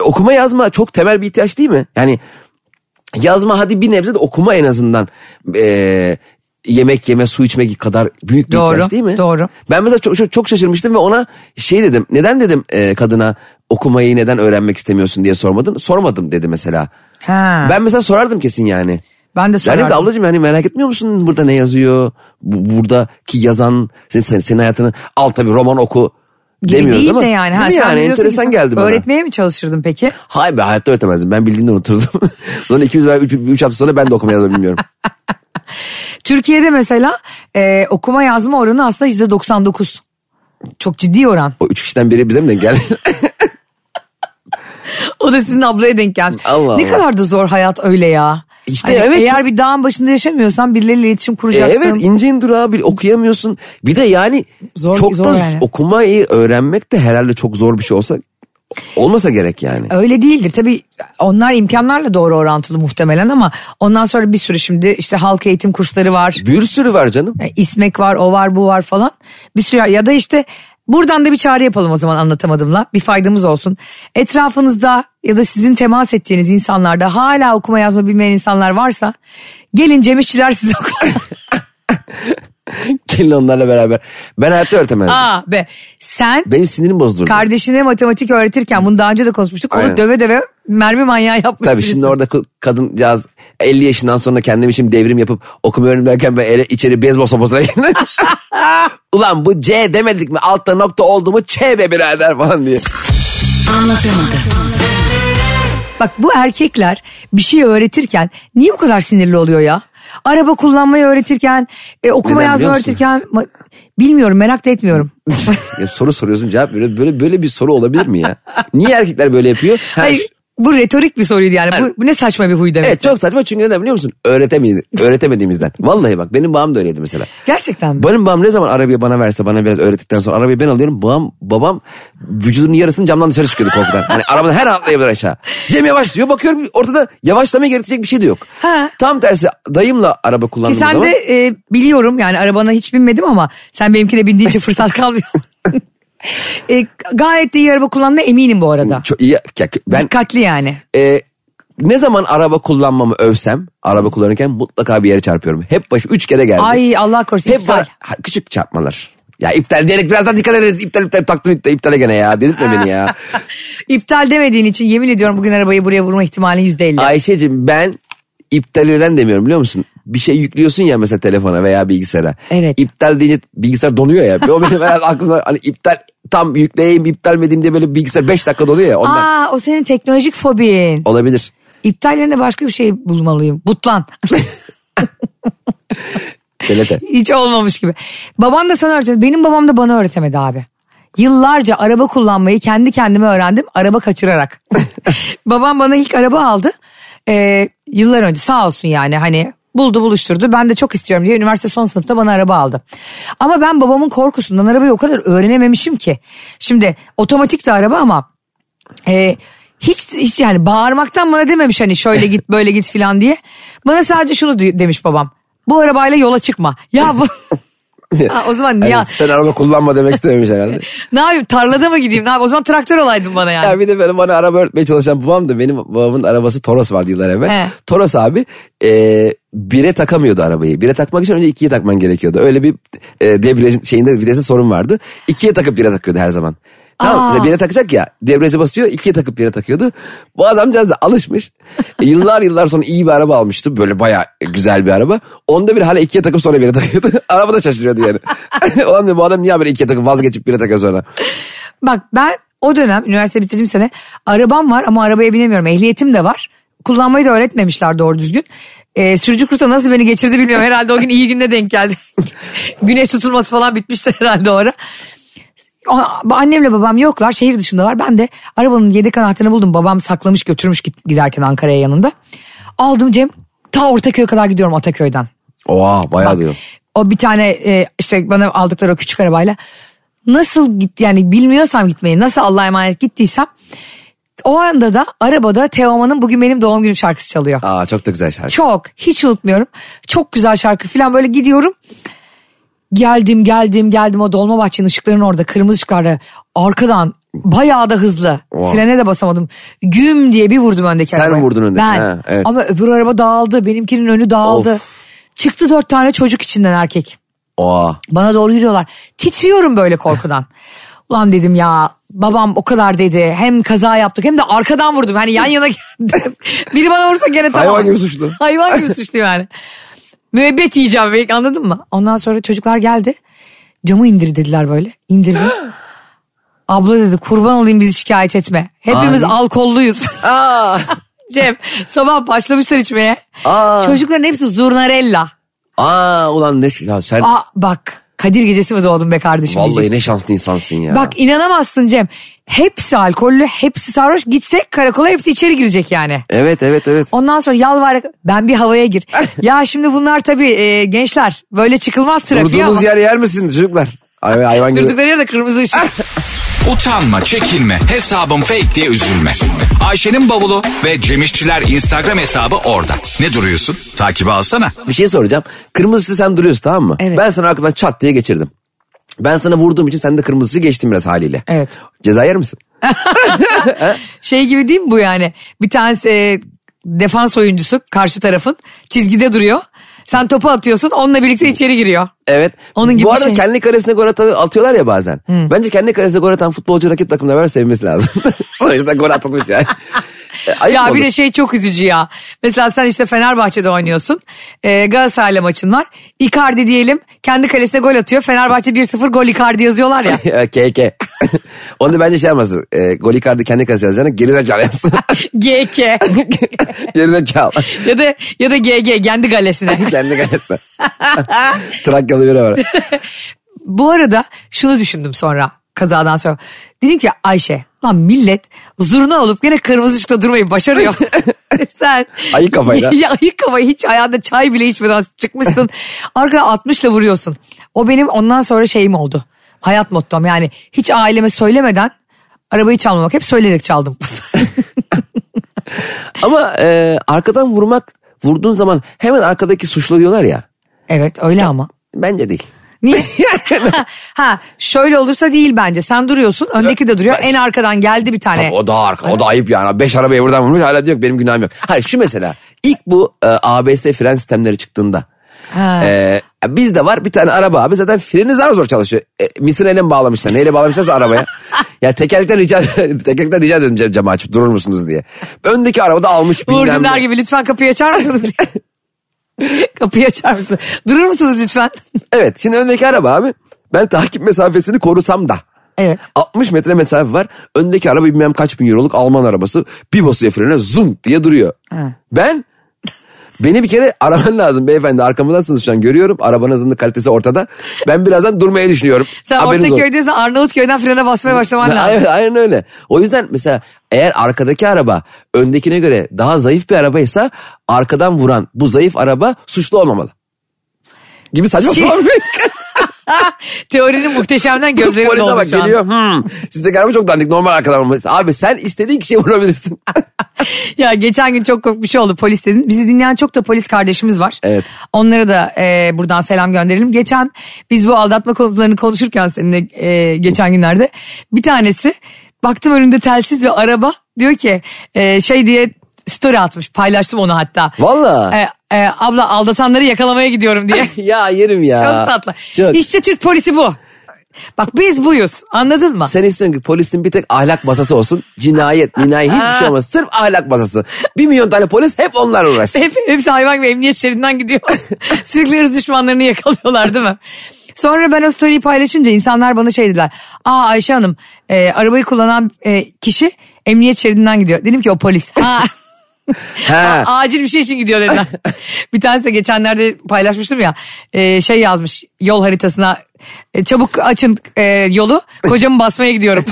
S3: okuma yazma çok temel bir ihtiyaç değil mi? Yani yazma hadi bir nebze de okuma en azından eee, yemek yeme su içme kadar büyük bir
S2: Doğru,
S3: ihtiyaç değil mi?
S2: doğru.
S3: Ben mesela çok, çok, çok şaşırmıştım ve ona şey dedim. Neden dedim e, kadına okumayı neden öğrenmek istemiyorsun diye sormadın. Sormadım dedi mesela.
S2: Ha, ben,
S3: Ben mesela sorardım kesin yani.
S2: de
S3: Yani de
S2: sorardım.
S3: ablacığım yani merak etmiyor musun burada ne yazıyor? Bu, buradaki yazan senin, senin, senin hayatını al tabii roman oku
S2: Gibi
S3: demiyoruz
S2: değil
S3: ama.
S2: de yani.
S3: Değil mi
S2: sen
S3: yani
S2: diyorsun ki
S3: enteresan
S2: sen
S3: geldi bana.
S2: Öğretmeye mi çalışırdın peki?
S3: Hayır be hayatta öğretemezdim. Ben bildiğini unuturdum. sonra 200 ben 3 hafta sonra ben de okuma yazma bilmiyorum.
S2: Türkiye'de mesela e, okuma yazma oranı aslında %99. Çok ciddi oran.
S3: O üç kişiden biri bize mi denk geldi?
S2: O da sizin ablaya denk gelmiş.
S3: Allah
S2: Ne
S3: Allah.
S2: kadar da zor hayat öyle ya. Hani
S3: İşte evet.
S2: Eğer bir dağın başında yaşamıyorsan birileriyle iletişim
S3: E,
S2: kuracaksın.
S3: evet inceyin durağı bir okuyamıyorsun. Bir de yani
S2: Zor-
S3: çok
S2: zor
S3: da
S2: yani.
S3: okumayı öğrenmek de herhalde çok zor bir şey olsa olmasa gerek yani.
S2: Öyle değildir. Tabii onlar imkanlarla doğru orantılı muhtemelen ama ondan sonra bir sürü şimdi işte halk eğitim kursları var.
S3: Bir sürü var canım.
S2: e, İsmek var, o var, bu var falan. Bir sürü ya da işte buradan da bir çağrı yapalım o zaman anlatamadımla. Bir faydamız olsun. Etrafınızda ya da sizin temas ettiğiniz insanlarda hala okuma yazma bilmeyen insanlar varsa gelin Cem İşçiler size oku-
S3: Gelin onlarla beraber. Ben hayatta öğretemezdim.
S2: A, B. Sen
S3: Benim sinirim bozdurdu.
S2: kardeşine matematik öğretirken bunu daha önce de konuşmuştuk. Onu
S3: Aynen.
S2: döve döve mermi manyağı yapmış.
S3: Tabii
S2: birisi.
S3: şimdi orada ku- kadıncağız 50 yaşından sonra kendim için devrim yapıp okumuyorum derken ben ele, içeri bezbol sopasına girdim. Ulan bu C demedik mi? Altta nokta oldu mu Ç be birader falan diye.
S2: Bak bu erkekler bir şey öğretirken niye bu kadar sinirli oluyor ya? Araba kullanmayı öğretirken, e, okuma
S3: Neden
S2: yazmayı
S3: biliyor musun?
S2: öğretirken ma- bilmiyorum merak da etmiyorum.
S3: Ya soru soruyorsun cevap veriyor. Böyle böyle bir soru olabilir mi ya? Niye erkekler böyle yapıyor? Ha,
S2: Hayır,
S3: şu-
S2: bu retorik bir soruydu yani. Bu, bu ne saçma bir huy demek.
S3: Evet çok saçma çünkü neden biliyor musun? Öğretemedi, öğretemediğimizden. Vallahi bak benim babam da öyleydi mesela.
S2: Gerçekten mi?
S3: Benim babam ne zaman arabayı bana verse bana biraz öğrettikten sonra arabayı ben alıyorum. Babam, babam vücudunun yarısını camdan dışarı çıkıyordu korkudan. Hani arabadan her an atlayabilir aşağı. Cem yavaş diyor bakıyorum ortada yavaşlamaya gerekecek bir şey de yok.
S2: Ha.
S3: Tam tersi dayımla araba
S2: Ki
S3: kullandığım
S2: sen
S3: zaman.
S2: de e, biliyorum yani arabana hiç binmedim ama sen benimkine bindiğin için fırsat kalmıyor. E, gayet de iyi araba kullandığına eminim bu arada.
S3: Çok iyi, ya, ben
S2: Dikkatli yani.
S3: e, ne zaman araba kullanmamı övsem araba kullanırken mutlaka bir yere çarpıyorum. Hep başım üç kere geldi.
S2: Ay Allah korusun
S3: Hep
S2: iptal.
S3: bana- ha, küçük çarpmalar. Ya iptal diyerek birazdan dikkat ederiz. İptal iptal taktım iptal, iptale gene ya. Delirtme beni ya.
S2: İptal demediğin için yemin ediyorum bugün arabayı buraya vurma ihtimali yüzde elli.
S3: Ayşe'cim ben iptal eden demiyorum biliyor musun? Bir şey yüklüyorsun ya mesela telefona veya bilgisayara.
S2: Evet.
S3: İptal deyince bilgisayar donuyor ya. O benim herhalde aklımda hani iptal tam yükleyeyim iptal edeyim diye böyle bilgisayar 5 dakika donuyor ya ondan.
S2: Aa o senin teknolojik fobin.
S3: Olabilir.
S2: İptal yerine başka bir şey bulmalıyım. Butlan.
S3: Delete.
S2: Hiç olmamış gibi. Baban da sana öğretemedi. Benim babam da bana öğretemedi abi. Yıllarca araba kullanmayı kendi kendime öğrendim. Araba kaçırarak. Babam bana ilk araba aldı. Ee, yıllar önce sağ olsun yani hani buldu buluşturdu. Ben de çok istiyorum diye üniversite son sınıfta bana araba aldı. Ama ben babamın korkusundan arabayı o kadar öğrenememişim ki. Şimdi otomatik de araba ama e, hiç, hiç yani bağırmaktan bana dememiş hani şöyle git böyle git filan diye. Bana sadece şunu diyor- demiş babam. Bu arabayla yola çıkma. Ya bu... Ha, o zaman
S3: Yani
S2: ya
S3: sen araba kullanma demek istememiş herhalde.
S2: ne yapayım tarlada mı gideyim ne yapayım o zaman traktör olaydın bana yani.
S3: Ya bir de böyle bana araba öğretmeye çalışan babam da benim babamın arabası Toros vardı yıllar evvel.
S2: He.
S3: Toros abi e, bire takamıyordu arabayı. Bire takmak için önce ikiye takman gerekiyordu. Öyle bir e, debriyajın şeyinde vitesi sorun vardı. İkiye takıp bire takıyordu her zaman. Tamam
S2: Aa.
S3: mesela bire takacak ya debriyaja basıyor ikiye takıp bire takıyordu. Bu adamcağız da alışmış. E, yıllar yıllar sonra iyi bir araba almıştı. Böyle bayağı güzel bir araba. Onda bir hala ikiye takıp sonra bire takıyordu. araba da şaşırıyordu yani. Ulan diyor, bu adam niye böyle ikiye takıp vazgeçip bire takıyor sonra.
S2: Bak ben o dönem üniversite bitirdiğim sene arabam var ama arabaya binemiyorum ehliyetim de var. Kullanmayı da öğretmemişler doğru düzgün. E, sürücü kursa nasıl beni geçirdi bilmiyorum. Herhalde o gün iyi günde denk geldi. Güneş tutulması falan bitmişti herhalde o ara. O- Annemle babam yoklar şehir dışındalar. Ben de arabanın yedek anahtarını buldum. Babam saklamış götürmüş git- giderken Ankara'ya yanında. Aldım Cem ta Ortaköy'e kadar gidiyorum Ataköy'den.
S3: Oha bayağı
S2: Bak,
S3: diyor.
S2: O bir tane e, işte bana aldıkları o küçük arabayla nasıl git yani bilmiyorsam gitmeyi nasıl Allah'a emanet gittiysem o anda da arabada Teoman'ın bugün benim doğum günüm şarkısı çalıyor.
S3: Aa çok da güzel şarkı.
S2: Çok hiç unutmuyorum. Çok güzel şarkı falan böyle gidiyorum. Geldim geldim geldim o Dolmabahçe'nin ışıklarının orada kırmızı ışıklarda arkadan bayağı da hızlı.
S3: Wow.
S2: Frene de basamadım. Güm diye bir vurdum öndeki
S3: Sen
S2: arabaya.
S3: vurdun öndeki,
S2: Ben.
S3: ha, evet.
S2: Ama öbür araba dağıldı benimkinin önü dağıldı. Çıktı dört tane çocuk içinden erkek.
S3: Oha.
S2: Bana doğru yürüyorlar. Titriyorum böyle korkudan. Ulan dedim ya babam o kadar dedi. Hem kaza yaptık hem de arkadan vurdum. Hani yan yana geldim. Biri bana vursa gene tamam.
S3: Hayvan gibi suçlu.
S2: Hayvan gibi suçlu yani. Müebbet yiyeceğim belki anladın mı? Ondan sonra çocuklar geldi. Camı indir dediler böyle. İndirdim. Abla dedi kurban olayım bizi şikayet etme. Hepimiz
S3: Ay.
S2: alkolluyuz.
S3: Aa.
S2: Cem sabah başlamışlar içmeye.
S3: Aa.
S2: Çocukların hepsi zurnarella.
S3: Aa ulan ne ya sen
S2: Aa bak Kadir gecesi mi doğdun be kardeşim
S3: vallahi
S2: diyeceksin.
S3: ne şanslı insansın ya.
S2: Bak inanamazsın Cem. Hepsi alkollü, hepsi sarhoş. Gitsek karakola hepsi içeri girecek yani.
S3: Evet evet evet.
S2: Ondan sonra yalvararak ben bir havaya gir. ya şimdi bunlar tabii e, gençler böyle çıkılmaz trafiğe ama
S3: Durduğunuz yer yer misin çocuklar? Ay, hayvan gibi.
S2: durdukları yerde kırmızı ışık.
S1: Utanma, çekinme, hesabım fake diye üzülme. Ayşe'nin bavulu ve Cemişçiler Instagram hesabı orada. Ne duruyorsun? Takibi alsana.
S3: Bir şey soracağım. Kırmızı ışıkta sen duruyorsun tamam mı?
S2: Evet.
S3: Ben sana arkadan çat diye geçirdim. Ben sana vurduğum için sen de kırmızıyı geçtin biraz haliyle.
S2: Evet.
S3: Ceza yer misin?
S2: şey gibi değil mi bu yani? Bir tanesi e, defans oyuncusu karşı tarafın çizgide duruyor. Sen topu atıyorsun onunla birlikte içeri giriyor.
S3: Evet.
S2: Onun gibi
S3: Bu
S2: bir
S3: arada
S2: şey.
S3: kendi karesine gol atan- atıyorlar ya bazen. Bence kendi karesine gol atan futbolcu rakip takımla beraber sevinmesi lazım. Sonuçta gol atılmış yani. E, Ayıp
S2: ya
S3: olur.
S2: bir de şey çok üzücü ya. Mesela sen işte Fenerbahçe'de oynuyorsun. Ee, Galatasaray'la maçın var. Icardi diyelim kendi kalesine gol atıyor. Fenerbahçe 1-0 gol Icardi yazıyorlar ya.
S3: Ya, KK. Onu da bence şey yapmasın. E, gol ikardı kendi karesine yazacağına geri zekalı yazsın.
S2: GK
S3: geri zekalı.
S2: ya da ya da GG kendi kalesine.
S3: kendi karesine. Trakyalı biri var.
S2: Bu arada şunu düşündüm sonra kazadan sonra. Dedim ki Ayşe lan millet zurna olup gene kırmızı ışıkta durmayı başarıyor. Sen
S3: Ayık kafayla.
S2: Ya, ayık kafayı hiç ayağında çay bile içmeden çıkmışsın. Arkada 60'la vuruyorsun. O benim ondan sonra şeyim oldu. Hayat mottom yani hiç aileme söylemeden arabayı çalmamak hep söyleyerek çaldım.
S3: Ama e, arkadan vurmak vurduğun zaman hemen arkadaki suçlu diyorlar ya.
S2: evet öyle ama.
S3: Bence değil.
S2: Niye? ha şöyle olursa değil bence. Sen duruyorsun öndeki de duruyor. En arkadan geldi bir tane.
S3: Tabii o daha arka o da ayıp yani. Beş arabayı buradan vurmuş hala diyor ki benim günahım yok. Hayır şu mesela ilk bu e, ABS fren sistemleri çıktığında.
S2: Ha.
S3: e, bizde var bir tane araba abi zaten freni zar zor çalışıyor. E, misineyle mi bağlamışlar neyle bağlamışlarsa arabaya. ya tekerlekten rica, tekerlekten rica ediyorum cam- camı açıp durur musunuz diye. Öndeki araba da almış
S2: Uğur
S3: bilmem
S2: Dündar
S3: ne.
S2: gibi lütfen kapıyı açar mısınız diye. kapıyı açar mısınız? Durur musunuz lütfen?
S3: Evet şimdi öndeki araba abi ben takip mesafesini korusam da.
S2: Evet.
S3: 60 metre mesafe var. Öndeki araba bilmem kaç bin euroluk Alman arabası. Bir basıyor frene zung diye duruyor. Ben beni bir kere araman lazım beyefendi. Arkamdasınız şu an görüyorum. Arabanızın da kalitesi ortada. Ben birazdan durmayı düşünüyorum.
S2: Sen
S3: Haberiniz olsun.
S2: Ortaköy'desin Arnavutköy'den frene basmaya başlaman lazım.
S3: Evet, aynen öyle. O yüzden mesela eğer arkadaki araba öndekine göre daha zayıf bir arabaysa arkadan vuran bu zayıf araba suçlu olmamalı. Gibi saçma
S2: Şey-
S3: sapan bir-
S2: Teorinin muhteşemden gözlerim
S3: Polise
S2: doldu
S3: bak
S2: şu an.
S3: geliyor. Hmm. Sizdeki araba çok dandik normal arkadan vurması. Abi sen istediğin kişiye vurabilirsin.
S2: Ya geçen gün çok komik bir şey oldu polis dedin. Bizi dinleyen çok da polis kardeşimiz var.
S3: Evet.
S2: Onlara da e, buradan selam gönderelim. Geçen biz bu aldatma konularını konuşurken seninle e, geçen günlerde bir tanesi baktım önünde telsiz ve araba diyor ki e, şey diye story atmış paylaştım onu hatta.
S3: Valla.
S2: E, e, abla aldatanları yakalamaya gidiyorum diye.
S3: ya yerim ya.
S2: Çok tatlı.
S3: Çok.
S2: İşte Türk polisi bu. Bak biz buyuz anladın mı?
S3: Sen istiyorsun ki polisin bir tek ahlak masası olsun. Cinayet, minayet hiçbir şey olmaz. Sırf ahlak masası. Bir milyon tane polis hep onlarla uğraşsın.
S2: Hep, hepsi hayvan gibi emniyet şeridinden gidiyor. Sürekli hırs düşmanlarını yakalıyorlar değil mi? Sonra ben o story'i paylaşınca insanlar bana şey dediler. Aa Ayşe Hanım e, arabayı kullanan e, kişi emniyet şeridinden gidiyor. Dedim ki o polis. Ha,
S3: He.
S2: acil bir şey için gidiyor dediler. bir tanesi de geçenlerde paylaşmıştım ya e, şey yazmış yol haritasına e, çabuk açın e, yolu kocamı basmaya gidiyorum.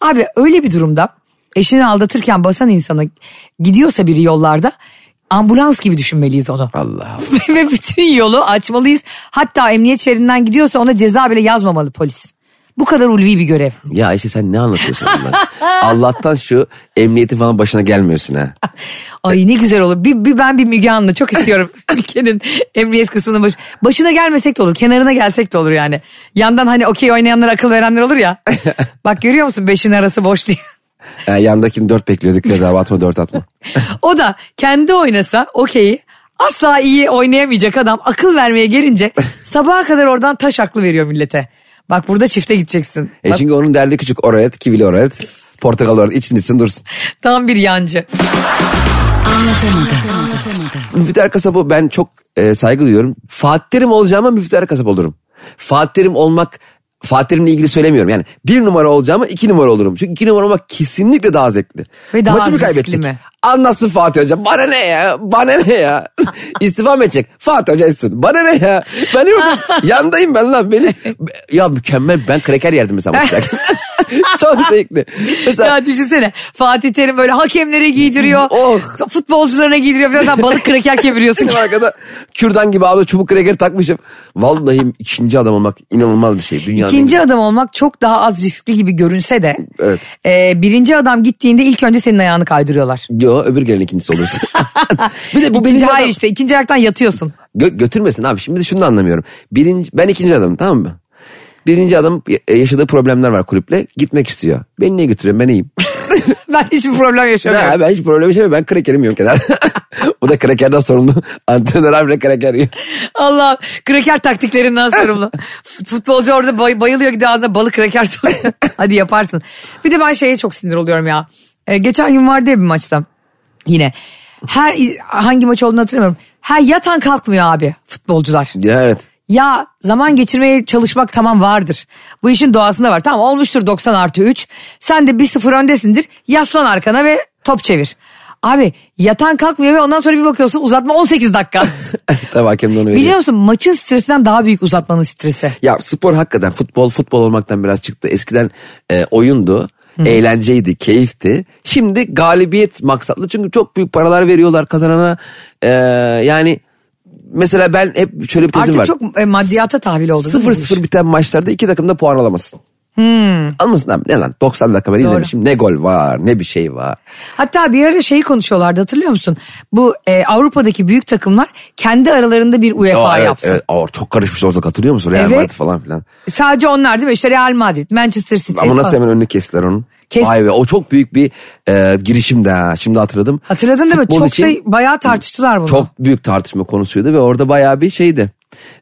S2: Abi öyle bir durumda eşini aldatırken basan insana gidiyorsa biri yollarda ambulans gibi düşünmeliyiz onu.
S3: Allah.
S2: Ve bütün yolu açmalıyız. Hatta emniyet şeridinden gidiyorsa ona ceza bile yazmamalı polis. Bu kadar ulvi bir görev.
S3: Ya Ayşe sen ne anlatıyorsun bunlar? Allah'tan şu emniyetin falan başına gelmiyorsun ha.
S2: Ay ne güzel olur. Bir, bir ben bir Müge Anlı çok istiyorum. Ülkenin emniyet kısmının baş, başına gelmesek de olur. Kenarına gelsek de olur yani. Yandan hani okey oynayanlar akıl verenler olur ya. Bak görüyor musun beşin arası boş diye.
S3: Ee, yandakini dört bekliyorduk. Bedava atma dört atma.
S2: O da kendi oynasa okeyi asla iyi oynayamayacak adam akıl vermeye gelince sabaha kadar oradan taş aklı veriyor millete. Bak burada çifte gideceksin.
S3: E çünkü onun derdi küçük oraya et, kivili oraya et, portakal oraya et, içindesin dursun.
S2: Tam bir yancı.
S3: Müftüler Kasap'ı ben çok e, saygı duyuyorum. Fatih Terim olacağıma Müftüler Kasap olurum. Fatih Terim olmak Fatih Terim'le ilgili söylemiyorum. Yani bir numara olacağıma iki numara olurum. Çünkü iki numara olmak kesinlikle daha zevkli.
S2: Ve daha
S3: Maçı mı
S2: az riskli
S3: kaybettik?
S2: mi?
S3: Anlatsın Fatih Hoca. Bana ne ya? Bana ne ya? İstifa mı edecek? Fatih Hoca etsin. Bana ne ya? Ben yokum. yandayım ben lan. Beni... Ya mükemmel. Ben kreker yerdim mesela maçlarken. Çok zevkli. Mesela
S2: Ya düşünsene Fatih Terim böyle hakemlere giydiriyor.
S3: Oh.
S2: Futbolcularına giydiriyor falan sen balık kraker keviriyorsun.
S3: Benim arkada kürdan gibi abla çubuk kreker takmışım. Vallahi ikinci adam olmak inanılmaz bir şey. Dünyanın
S2: İkinci adam olmak çok daha az riskli gibi görünse de
S3: Evet.
S2: e, birinci adam gittiğinde ilk önce senin ayağını kaydırıyorlar.
S3: Yo öbür gelen ikincisi olursun. bir de bu
S2: İkinci
S3: birinci
S2: hayır
S3: adam
S2: işte ikinci ayaktan yatıyorsun.
S3: Gö- götürmesin abi. Şimdi şunu da anlamıyorum. Birinci, ben ikinci adamım tamam mı? Birinci adam e, yaşadığı problemler var kulüple. Gitmek istiyor. Beni niye götürüyorsun ben iyiyim.
S2: ben hiçbir problem yaşamıyorum.
S3: Ha, ben hiç problem yaşamıyorum. Ben krakerim yok eder. Bu da krakerden sorumlu. Antrenör abi kraker yiyor.
S2: Allah kraker taktiklerinden sorumlu. Futbolcu orada bay- bayılıyor gidiyor ağzına balık kraker sokuyor. Hadi yaparsın. Bir de ben şeye çok sinir oluyorum ya. Ee, geçen gün vardı ya bir maçta yine. Her hangi maç olduğunu hatırlamıyorum. Her yatan kalkmıyor abi futbolcular.
S3: Ya evet.
S2: Ya zaman geçirmeye çalışmak tamam vardır. Bu işin doğasında var. Tamam olmuştur 90 artı 3. Sen de 1-0 öndesindir. Yaslan arkana ve top çevir. Abi yatan kalkmıyor ve ondan sonra bir bakıyorsun uzatma 18 dakika.
S3: Tabii hakem de onu veriyor.
S2: Biliyor musun maçın stresinden daha büyük uzatmanın stresi.
S3: Ya spor hakikaten futbol futbol olmaktan biraz çıktı. Eskiden e, oyundu. Eğlenceydi, keyifti. Şimdi galibiyet maksatlı. Çünkü çok büyük paralar veriyorlar kazanana. E, yani mesela ben hep şöyle bir
S2: Artık
S3: tezim var.
S2: çok e, maddiyata tahvil oldu. değil mi bu iş?
S3: 0-0 biten maçlarda iki takım da puan alamasın. Almasın abi ne lan 90 dakika ben izlemişim ne gol var ne bir şey var.
S2: Hatta bir ara şeyi konuşuyorlardı hatırlıyor musun? Bu e, Avrupa'daki büyük takımlar kendi aralarında bir UEFA
S3: Aa, evet,
S2: yapsın.
S3: evet. Aa, çok karışmış ortalık hatırlıyor musun? Real
S2: Evet.
S3: Madrid falan filan.
S2: Sadece onlar değil mi? İşte Real Madrid, Manchester City
S3: Ama nasıl
S2: Şey falan.
S3: hemen önünü kestiler onun.
S2: Kes-
S3: Vay be o çok büyük bir e, girişimdi ha şimdi hatırladım.
S2: Hatırladın değil mi?
S3: Futbol
S2: Çok
S3: için
S2: şey bayağı tartıştılar bunu.
S3: Çok büyük tartışma konusuydu ve orada bayağı bir şeydi.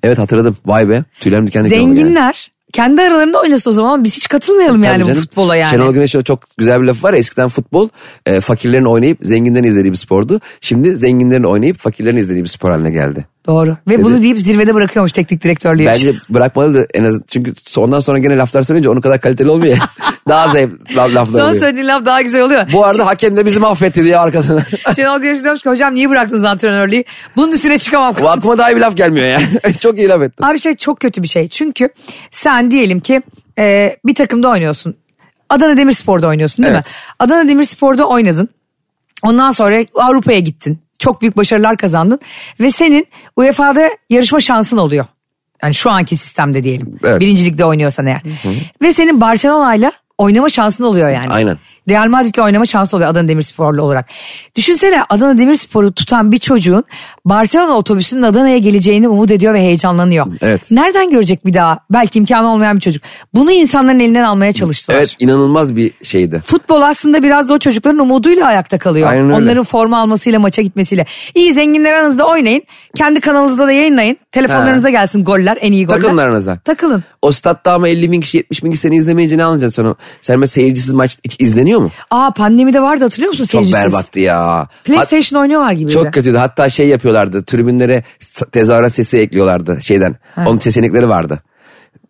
S3: Evet hatırladım vay be tüylerim diken diken oldu yani.
S2: Zenginler kendi aralarında oynasın o zaman ama biz hiç katılmayalım
S3: Tabii
S2: yani bu
S3: canım.
S2: futbola yani.
S3: Şenol Güneş'in o çok güzel bir lafı var ya, eskiden futbol e, fakirlerin oynayıp zenginden izlediği bir spordu. Şimdi zenginlerin oynayıp fakirlerin izlediği bir spor haline geldi.
S2: Doğru. Ve bunu deyip zirvede bırakıyormuş teknik direktörlüğü.
S3: Bence bırakmalı da en az çünkü ondan sonra gene laflar söyleyince onun kadar kaliteli olmuyor. ya. Daha zevk laf, laflar
S2: Son
S3: oluyor.
S2: söylediğin laf daha güzel oluyor.
S3: Bu arada hakem de bizi mahvetti diye arkasına.
S2: Şenol Güneş demiş ki hocam niye bıraktınız antrenörlüğü? Bunun üstüne çıkamam.
S3: Bu aklıma daha iyi bir laf gelmiyor ya. çok iyi laf ettin.
S2: Abi şey çok kötü bir şey. Çünkü sen diyelim ki e, bir takımda oynuyorsun. Adana Demirspor'da oynuyorsun değil mi?
S3: Evet.
S2: Adana Demirspor'da oynadın. Ondan sonra Avrupa'ya gittin. Çok büyük başarılar kazandın. Ve senin UEFA'da yarışma şansın oluyor. Yani şu anki sistemde diyelim.
S3: Evet.
S2: Birincilikte oynuyorsan eğer. Ve senin Barcelona'yla oynama şansın oluyor yani.
S3: Aynen.
S2: Real Madrid'le oynama şansı oluyor Adana Demirsporlu olarak. Düşünsene Adana Demirspor'u tutan bir çocuğun Barcelona otobüsünün Adana'ya geleceğini umut ediyor ve heyecanlanıyor.
S3: Evet.
S2: Nereden görecek bir daha? Belki imkanı olmayan bir çocuk. Bunu insanların elinden almaya çalıştılar.
S3: Evet inanılmaz bir şeydi.
S2: Futbol aslında biraz da o çocukların umuduyla ayakta kalıyor.
S3: Aynen öyle.
S2: Onların forma almasıyla maça gitmesiyle. İyi zenginler aranızda oynayın. Kendi kanalınızda da yayınlayın. Telefonlarınıza gelsin goller en iyi goller.
S3: Takımlarınıza.
S2: Takılın.
S3: O statta ama 50 bin kişi 70 bin kişi seni izlemeyince ne anlayacaksın sen o? Sen mesela seyircisiz maç hiç izleniyor mu?
S2: Aa pandemide vardı hatırlıyor musun
S3: Çok
S2: seyircisiz?
S3: berbattı ya. Hat-
S2: PlayStation oynuyorlar gibi.
S3: çok kötüydü. Hatta şey yapıyorlardı. Tribünlere s- tezahürat sesi ekliyorlardı şeyden. Onun seçenekleri vardı.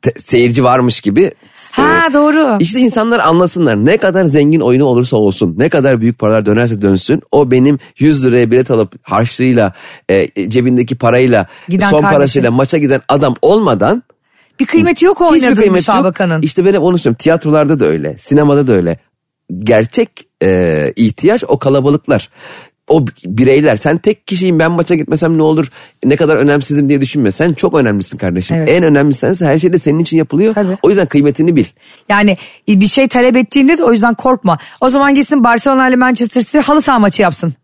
S3: Te- seyirci varmış gibi.
S2: Ha,
S3: e,
S2: doğru.
S3: İşte insanlar anlasınlar. Ne kadar zengin oyunu olursa olsun. Ne kadar büyük paralar dönerse dönsün. O benim 100 liraya bilet alıp harçlığıyla e, cebindeki parayla
S2: Giden
S3: son
S2: kardeşi.
S3: parasıyla maça giden adam olmadan
S2: Bir kıymeti yok o
S3: Hiçbir
S2: oynadığın
S3: kıymeti yok.
S2: müsabakanın.
S3: İşte ben hep onu söylüyorum. Tiyatrolarda da öyle. Sinemada da öyle. Gerçek e, ihtiyaç o kalabalıklar. O b- bireyler. Sen tek kişiyim ben maça gitmesem ne olur? Ne kadar önemsizim diye düşünme. Sen çok önemlisin kardeşim.
S2: Evet.
S3: En önemlisi sensin. Her şey de senin için yapılıyor.
S2: Tabii.
S3: O yüzden kıymetini bil.
S2: Yani bir şey talep ettiğinde de o yüzden korkma. O zaman gitsin Barcelona ile Manchester City halı saha maçı yapsın.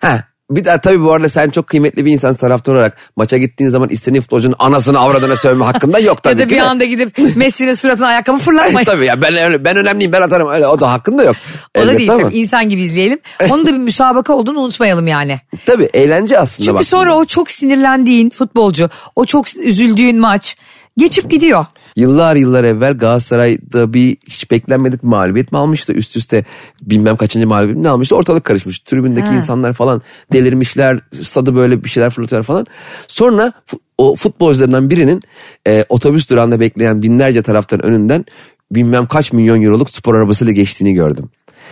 S3: Ha. Bir de tabii bu arada sen çok kıymetli bir insansın taraftar olarak. Maça gittiğin zaman istediğin futbolcunun anasını avradına sövme hakkında yok tabii
S2: ya da
S3: ki
S2: bir
S3: de.
S2: anda gidip Messi'nin suratına ayakkabı fırlatmayın.
S3: tabii ya ben, öyle- ben önemliyim ben atarım öyle o da hakkında yok.
S2: o da
S3: Elbette
S2: değil
S3: ama.
S2: tabii insan gibi izleyelim. Onun da bir müsabaka olduğunu unutmayalım yani.
S3: Tabii eğlence aslında
S2: Çünkü
S3: baktığında.
S2: sonra o çok sinirlendiğin futbolcu, o çok üzüldüğün maç geçip gidiyor.
S3: Yıllar yıllar evvel Galatasaray'da bir hiç beklenmedik mağlubiyet mi almıştı? Üst üste bilmem kaçıncı mağlubiyet mi almıştı? Ortalık karışmış. Tribündeki
S2: Ha.
S3: insanlar falan delirmişler. Stadı böyle bir şeyler fırlatıyorlar falan. Sonra fu- o futbolcularından birinin e, otobüs durağında bekleyen binlerce taraftarın önünden bilmem kaç milyon euroluk spor arabasıyla geçtiğini gördüm.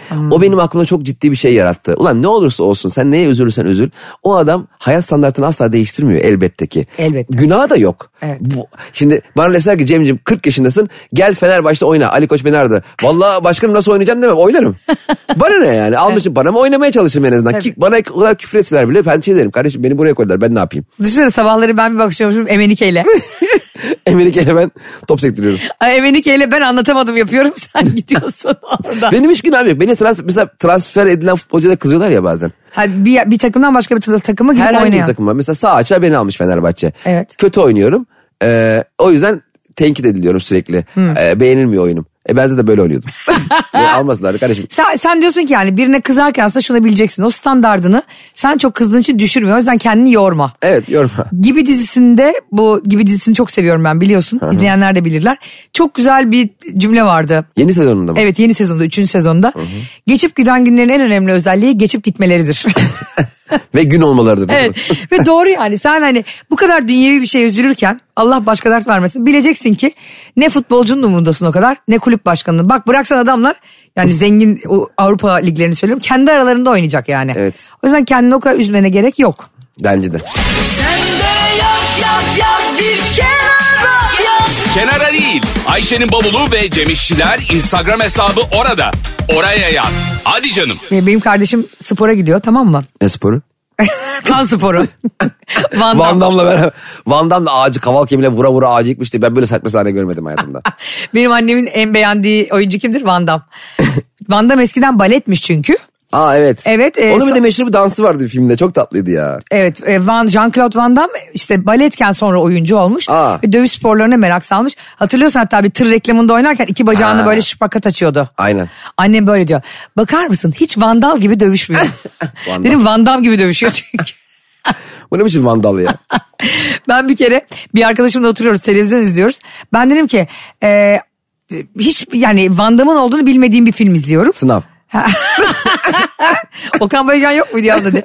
S2: Hmm.
S3: O benim aklımda çok ciddi bir şey yarattı. Ulan ne olursa olsun sen neye üzülürsen üzül. O adam hayat standartını asla değiştirmiyor elbette ki.
S2: Elbette.
S3: Günah da yok.
S2: Evet.
S3: Bu- şimdi bana deseler ki Cem'ciğim 40 yaşındasın gel Fenerbahçe'de oyna. Ali Koç beni aradı. Valla başkanım nasıl oynayacağım demem oynarım. bana ne yani almışım bana mı oynamaya çalışırım en azından. Ki,
S2: Tabii.
S3: bana o kadar küfür etseler bile ben şey derim kardeşim beni buraya koydular ben ne yapayım.
S2: Düşünsene sabahları ben bir bakışıyormuşum Emenike'yle.
S3: Emelike'yle ben top sektiriyoruz.
S2: Ay, Emenike'yle ben anlatamadım yapıyorum sen gidiyorsun orada.
S3: Benim hiç günahım yok. Beni trans, mesela transfer edilen futbolcuya da kızıyorlar ya bazen.
S2: Ha, bir, bir takımdan başka bir takıma gidip
S3: Herhangi
S2: oynayan.
S3: bir takıma. Mesela sağ açığa beni almış Fenerbahçe.
S2: Evet. Hmm.
S3: Kötü oynuyorum. Ee, o yüzden tenkit ediliyorum sürekli. Ee, beğenilmiyor oyunum. E ben de böyle oynuyordum. Beni almasınlardı kardeşim.
S2: Sen, sen diyorsun ki yani birine kızarken aslında şunu bileceksin. O standardını sen çok kızdığın için düşürmüyor. O yüzden kendini yorma.
S3: Evet yorma.
S2: Gibi dizisinde bu gibi dizisini çok seviyorum ben biliyorsun. İzleyenler de bilirler. Çok güzel bir cümle vardı.
S3: Yeni sezonunda mı?
S2: Evet yeni sezonda 3. sezonda. Geçip giden günlerin en önemli özelliği geçip gitmeleridir.
S3: Ve gün olmaları da.
S2: evet ve doğru yani sen hani bu kadar dünyevi bir şey üzülürken Allah başka dert vermesin. Bileceksin ki ne futbolcunun umurundasın o kadar ne kulüp başkanının. Bak bıraksan adamlar yani zengin o Avrupa liglerini söylüyorum kendi aralarında oynayacak yani.
S3: Evet.
S2: O yüzden kendini o kadar üzmene gerek yok.
S3: Bence de.
S1: Kenara değil. Ayşe'nin bavulu ve Cemişçiler Instagram hesabı orada. Oraya yaz. Hadi canım.
S2: Ve Benim kardeşim spora gidiyor tamam mı?
S3: Ne sporu?
S2: Kan sporu. Van Damme.
S3: Van Damme'la beraber. Van Damme de ağacı kaval kemiğiyle vura vura ağacı yıkmıştı. Ben böyle saçma sahne görmedim hayatımda.
S2: Benim annemin en beğendiği oyuncu kimdir? Van Damme. Van Damme eskiden baletmiş çünkü.
S3: Aa evet.
S2: Evet, e,
S3: Onun bir
S2: sa-
S3: de meşhur bir dansı vardı bir filmde. Çok tatlıydı ya.
S2: Evet e, Van, Jean-Claude Van Damme işte baletken sonra oyuncu olmuş.
S3: Aa.
S2: Ve dövüş sporlarına merak salmış. Hatırlıyorsan hatta bir tır reklamında oynarken iki bacağını
S3: Ha.
S2: böyle şıprakat açıyordu.
S3: Aynen.
S2: Annem böyle diyor. Bakar mısın hiç vandal gibi dövüşmüyor.
S3: Damme.
S2: Dedim vandal gibi dövüşüyor çünkü.
S3: Bu ne biçim Van Damme ya?
S2: Ben bir kere bir arkadaşımla oturuyoruz televizyon izliyoruz. Ben dedim ki e, hiç yani Van Damme'ın olduğunu bilmediğim bir film izliyorum.
S3: Sınav.
S2: Okan Bayülgen yok muydu ya dedi.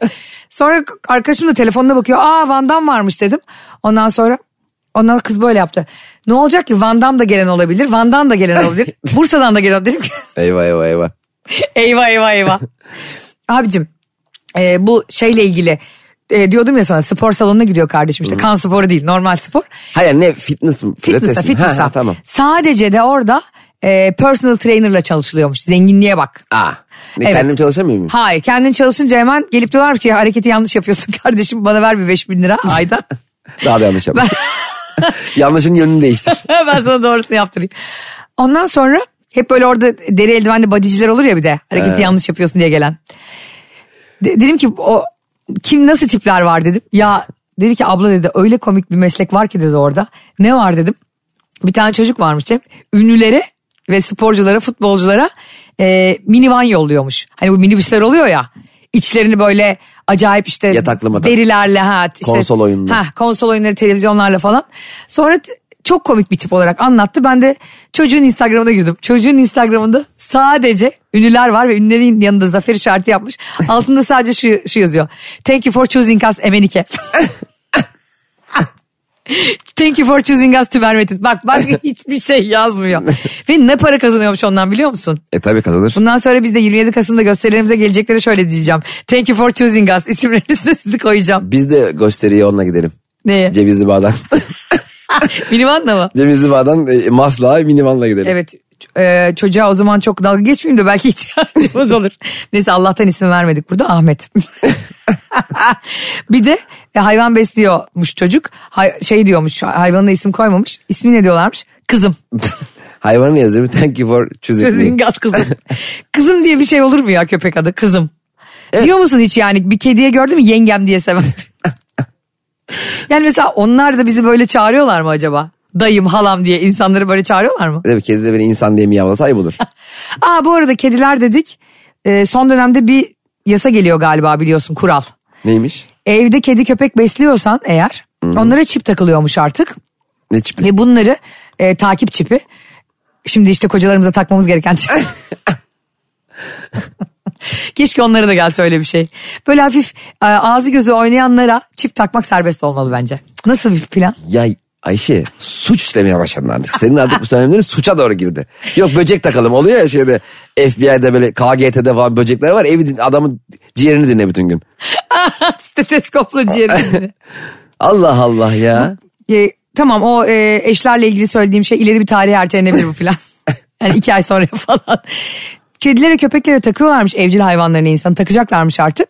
S2: Sonra arkadaşım da telefonuna bakıyor. Aa Van Damme varmış dedim. Ondan sonra ondan kız böyle yaptı. Ne olacak ki Van Damme da gelen olabilir. Van Damme da gelen olabilir. Bursa'dan da gelen olabilir. Dedim ki,
S3: Eyvah eyvah eyvah.
S2: eyvah eyvah eyvah. Abicim e, bu şeyle ilgili e, diyordum ya sana spor salonuna gidiyor kardeşim işte kan sporu değil normal spor.
S3: Hayır ne fitness mi? Pilates
S2: Fitness'a
S3: mi? Ha,
S2: fitness'a.
S3: ha, tamam.
S2: Sadece de orada e, personal trainerla çalışılıyormuş. Zenginliğe bak.
S3: Aa. Ne,
S2: Evet.
S3: Kendim çalışamıyor muyum?
S2: Hayır kendin çalışınca hemen gelip diyorlar ki hareketi yanlış yapıyorsun kardeşim bana ver bir 5000 lira ayda.
S3: Daha da yanlış yapmış. Yanlışın yönünü değiştir.
S2: ben sana doğrusunu yaptırayım. Ondan sonra hep böyle orada deri eldivenli badiciler olur ya bir de hareketi
S3: Evet.
S2: yanlış yapıyorsun diye gelen. De- dedim ki o kim nasıl tipler var dedim. Ya dedi ki abla dedi öyle komik bir meslek var ki dedi orada. Ne var dedim. Bir tane çocuk varmış Cem. Ünlülere ve sporculara, futbolculara e, minivan yolluyormuş. Hani bu minibüsler oluyor ya. İçlerini böyle acayip işte
S3: Yataklı matak.
S2: derilerle ha işte
S3: Konsol oyunlu.
S2: Ha, konsol oyunları televizyonlarla falan. Sonra t- çok komik bir tip olarak anlattı. Ben de çocuğun Instagram'ına girdim. Çocuğun Instagram'ında sadece ünlüler var ve ünlülerin yanında zafer işareti yapmış. Altında sadece şu, şu yazıyor. Thank you for choosing us Emenike. Thank you for choosing us Tümer Metin. Bak başka hiçbir şey yazmıyor. ve ne para kazanıyormuş ondan biliyor musun?
S3: E tabii kazanır.
S2: Bundan sonra biz de 27 Kasım'da gösterilerimize gelecekleri şöyle diyeceğim. Thank you for choosing us isimlerini üstüne sizi koyacağım.
S3: Biz de gösteriye onunla gidelim.
S2: Neye?
S3: Cevizli Bağ'dan.
S2: Minivanla mı?
S3: Cevizli Bağ'dan e, Maslak'a minivanla gidelim.
S2: Evet ç- e, çocuğa o zaman çok dalga geçmeyeyim de belki ihtiyacımız olur. Neyse Allah'tan isim vermedik burada Ahmet. bir de e, hayvan besliyormuş çocuk. Hay- şey diyormuş hayvanına isim koymamış. İsmi ne diyorlarmış? Kızım.
S3: Hayvanı yazıyor. Thank you for choosing me.
S2: Sözün gaz kızım. kızım diye bir şey olur mu ya köpek adı? Kızım. Diyor musun hiç yani bir kediye gördün mü yengem diye seven. yani mesela onlar da bizi böyle çağırıyorlar mı acaba? Dayım, halam diye insanları böyle çağırıyorlar mı?
S3: Tabii kedi de beni insan diye miyavlasa ayıp olur.
S2: Aa bu arada kediler dedik. Ee, son dönemde bir yasa geliyor galiba biliyorsun kural.
S3: Neymiş?
S2: Evde kedi köpek besliyorsan eğer onlara çip takılıyormuş artık.
S3: Ne çipi?
S2: Ve bunları e, takip çipi. Şimdi işte kocalarımıza takmamız gereken çip. Keşke onlara da gelse öyle bir şey. Böyle hafif e, ağzı gözü oynayanlara çip takmak serbest olmalı bence. Nasıl bir plan?
S3: Ya Ayşe suç işlemeye başladın artık. Senin artık bu söylemlerin suça doğru girdi. Yok böcek takalım oluyor ya şeyde FBI'de böyle KGT'de falan böcekler var. Evi din- adamın ciğerini dinle bütün gün.
S2: Steteskopla ciğerini.
S3: Allah Allah ya.
S2: E, tamam o e, eşlerle ilgili söylediğim şey ileri bir tarihe ertelenebilir bu plan. yani iki ay sonra falan. Kedilere köpeklere takıyorlarmış evcil hayvanlarını insan takacaklarmış artık.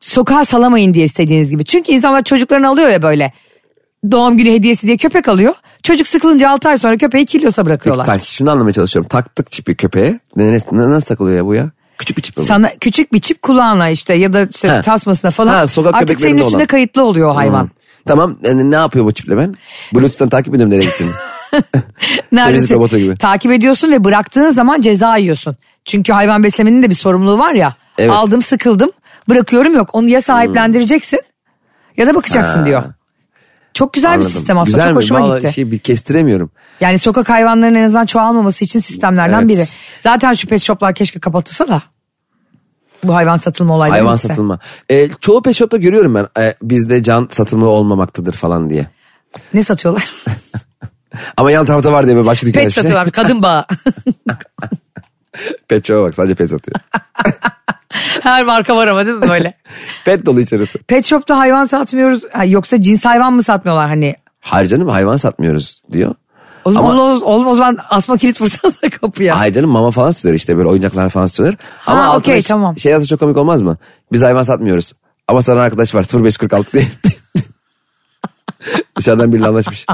S2: Sokağa salamayın diye istediğiniz gibi. Çünkü insanlar çocuklarını alıyor ya böyle. Doğum günü hediyesi diye köpek alıyor. Çocuk sıkılınca 6 ay sonra köpeği kilyosa
S3: Peki
S2: bırakıyorlar.
S3: Tarık, şunu anlamaya çalışıyorum. Taktık çipi köpeğe. Ne, ne- ne- nasıl takılıyor ya bu ya? Küçük bir çip mi bu?
S2: Sana küçük bir çip kulağına işte ya da işte
S3: Ha.
S2: tasmasına falan.
S3: Ha, sokak
S2: artık senin
S3: köpeklerinde
S2: üstünde
S3: olan. Hmm.
S2: kayıtlı oluyor o hayvan.
S3: Tamam e, ne yapıyor bu çiple ben? Bluetooth'tan takip ediyorum nereye gittiğini.
S2: Neredeyse
S3: robota gibi.
S2: takip ediyorsun ve bıraktığın zaman ceza yiyorsun. Çünkü hayvan beslemenin de bir sorumluluğu var ya.
S3: Evet.
S2: Aldım sıkıldım bırakıyorum yok onu ya sahiplendireceksin ya da bakacaksın diyor. Çok güzel bir sistem aslında
S3: Güzel
S2: çok
S3: mi?
S2: hoşuma
S3: Vallahi
S2: gitti.
S3: Şey, bir kestiremiyorum.
S2: Yani sokak hayvanlarının en azından çoğalmaması için sistemlerden
S3: Evet.
S2: biri. Zaten şu pet shoplar keşke kapatılsa da. Bu hayvan satılma olayları.
S3: Hayvan
S2: bitse.
S3: satılma. E, çoğu pet shop'ta görüyorum ben e, bizde can satılma olmamaktadır falan diye.
S2: Ne satıyorlar?
S3: Ama yan tarafta var diye böyle başka dükkan
S2: pet
S3: açmışlar.
S2: satıyorlar kadın bağı.
S3: Pet shop'a bak sadece pet satıyor.
S2: Her marka var ama değil mi böyle?
S3: pet dolu içerisi.
S2: Pet shop'ta hayvan satmıyoruz. Ha, yoksa cins hayvan mı satmıyorlar hani?
S3: Hayır canım hayvan satmıyoruz diyor.
S2: O zaman,
S3: Ama-
S2: oğlum, oğlum o zaman asma kilit vursanız da kapıya.
S3: Hayır canım mama falan satıyor işte böyle oyuncaklar falan satıyorlar. Ama altına
S2: okey,
S3: hiç-
S2: tamam.
S3: şey yazsa çok komik olmaz mı? Biz hayvan satmıyoruz. Ama sana arkadaş var 0546 diye. Dışarıdan biriyle anlaşmış.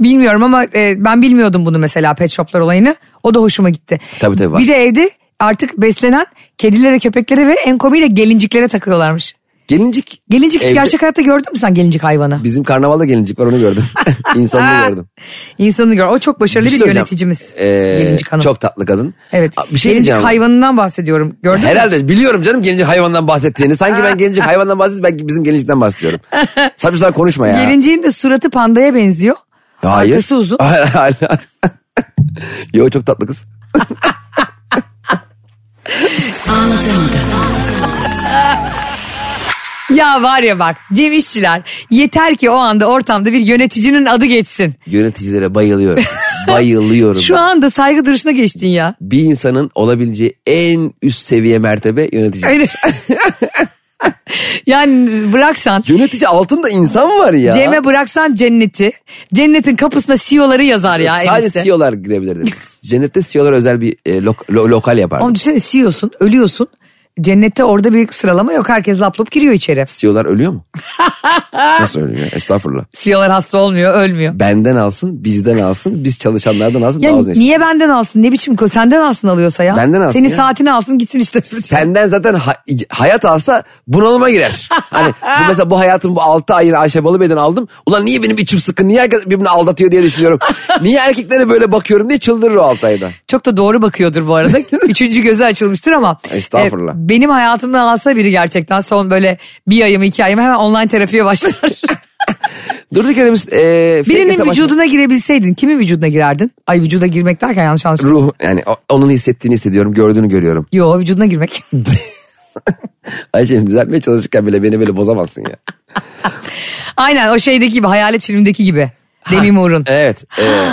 S2: Bilmiyorum ama e, ben bilmiyordum bunu mesela pet shop'lar olayını. O da hoşuma gitti.
S3: Tabii, tabii, var.
S2: Bir de evde artık beslenen kedilere, köpeklere ve en komiği de gelinciklere takıyorlarmış.
S3: Gelincik.
S2: Gelincik hiç
S3: Evde-
S2: gerçek hayatta gördün mü sen gelincik hayvanı?
S3: Bizim karnavalda gelincik var onu gördüm. İnsanını
S2: Ha,
S3: gördüm.
S2: İnsanı gör. O çok başarılı
S3: şey
S2: bir,
S3: söyleyeceğim.
S2: yöneticimiz.
S3: Ee,
S2: gelincik hanım.
S3: Çok tatlı kadın.
S2: Evet.
S3: Aa, Bir şey
S2: gelincik
S3: diyeceğim.
S2: hayvanından bahsediyorum. Gördün mü?
S3: Herhalde biliyorum canım gelincik hayvandan bahsettiğini. Sanki ben gelincik hayvandan bahsediyorum. Ben bizim gelincikten bahsediyorum. Saçma sapan konuşma ya.
S2: Gelinciğin de suratı pandaya benziyor.
S3: Hayır.
S2: Arkası uzun.
S3: Hala- hala. Yo çok tatlı kız.
S2: Ya var ya bak Cem İşçiler yeter ki o anda ortamda bir yöneticinin adı geçsin.
S3: Yöneticilere bayılıyorum. bayılıyorum.
S2: Şu anda saygı duruşuna geçtin ya.
S3: Bir insanın olabileceği en üst seviye mertebe yönetici.
S2: Öyle. yani bıraksan
S3: Yönetici altında insan var ya.
S2: Cem'e bıraksan cenneti. Cennetin kapısına CEO'ları yazar ya. en
S3: Sadece E
S2: iyisi.
S3: CEO'lar girebilirdi. Cennette CEO'lar özel bir e, lok- lo- lokal
S2: Oğlum
S3: yapardı.
S2: düşünsene CEO'sun ölüyorsun. Cennette orada bir sıralama yok. Herkes lap lop giriyor içeri.
S3: CEO'lar ölüyor mu? Nasıl ölüyor? ya? Estağfurullah.
S2: CEO'lar E hasta olmuyor ölmüyor.
S3: Benden alsın, bizden alsın, biz çalışanlardan alsın.
S2: Ya
S3: daha uzun yaşasın.
S2: niye benden alsın? Ne biçim ko- senden alsın alıyorsa ya.
S3: Benden alsın
S2: Senin
S3: ya.
S2: saatini alsın gitsin işte.
S3: Senden zaten ha- hayat alsa bunalıma girer. Hani bu mesela bu hayatın bu 6 ayını Ayşe Balıbey'den aldım. Ulan niye benim içim sıkın? Niye herkes birbirini aldatıyor diye düşünüyorum. niye erkeklere böyle bakıyorum diye çıldırır o 6 ayda.
S2: Çok da doğru bakıyordur bu arada. Üçüncü gözü açılmıştır ama.
S3: Estağfurullah.
S2: e, benim hayatımdan alsa biri gerçekten son böyle bir ayımı iki ayımı hemen online terapiye başlar.
S3: Durduk yere biz... E, fake
S2: Birinin
S3: hesap açma-
S2: vücuduna girebilseydin kimin vücuduna girerdin? Ay vücuda girmek derken yanlış anlaşıldı.
S3: Ruh yani o- onun hissettiğini hissediyorum, gördüğünü görüyorum.
S2: Yo vücuduna girmek.
S3: Ayşe'm düzeltmeye çalışırken bile beni böyle bozamazsın ya.
S2: Aynen o şeydeki gibi hayalet filmindeki gibi. Demi Moore'un.
S3: Evet. e,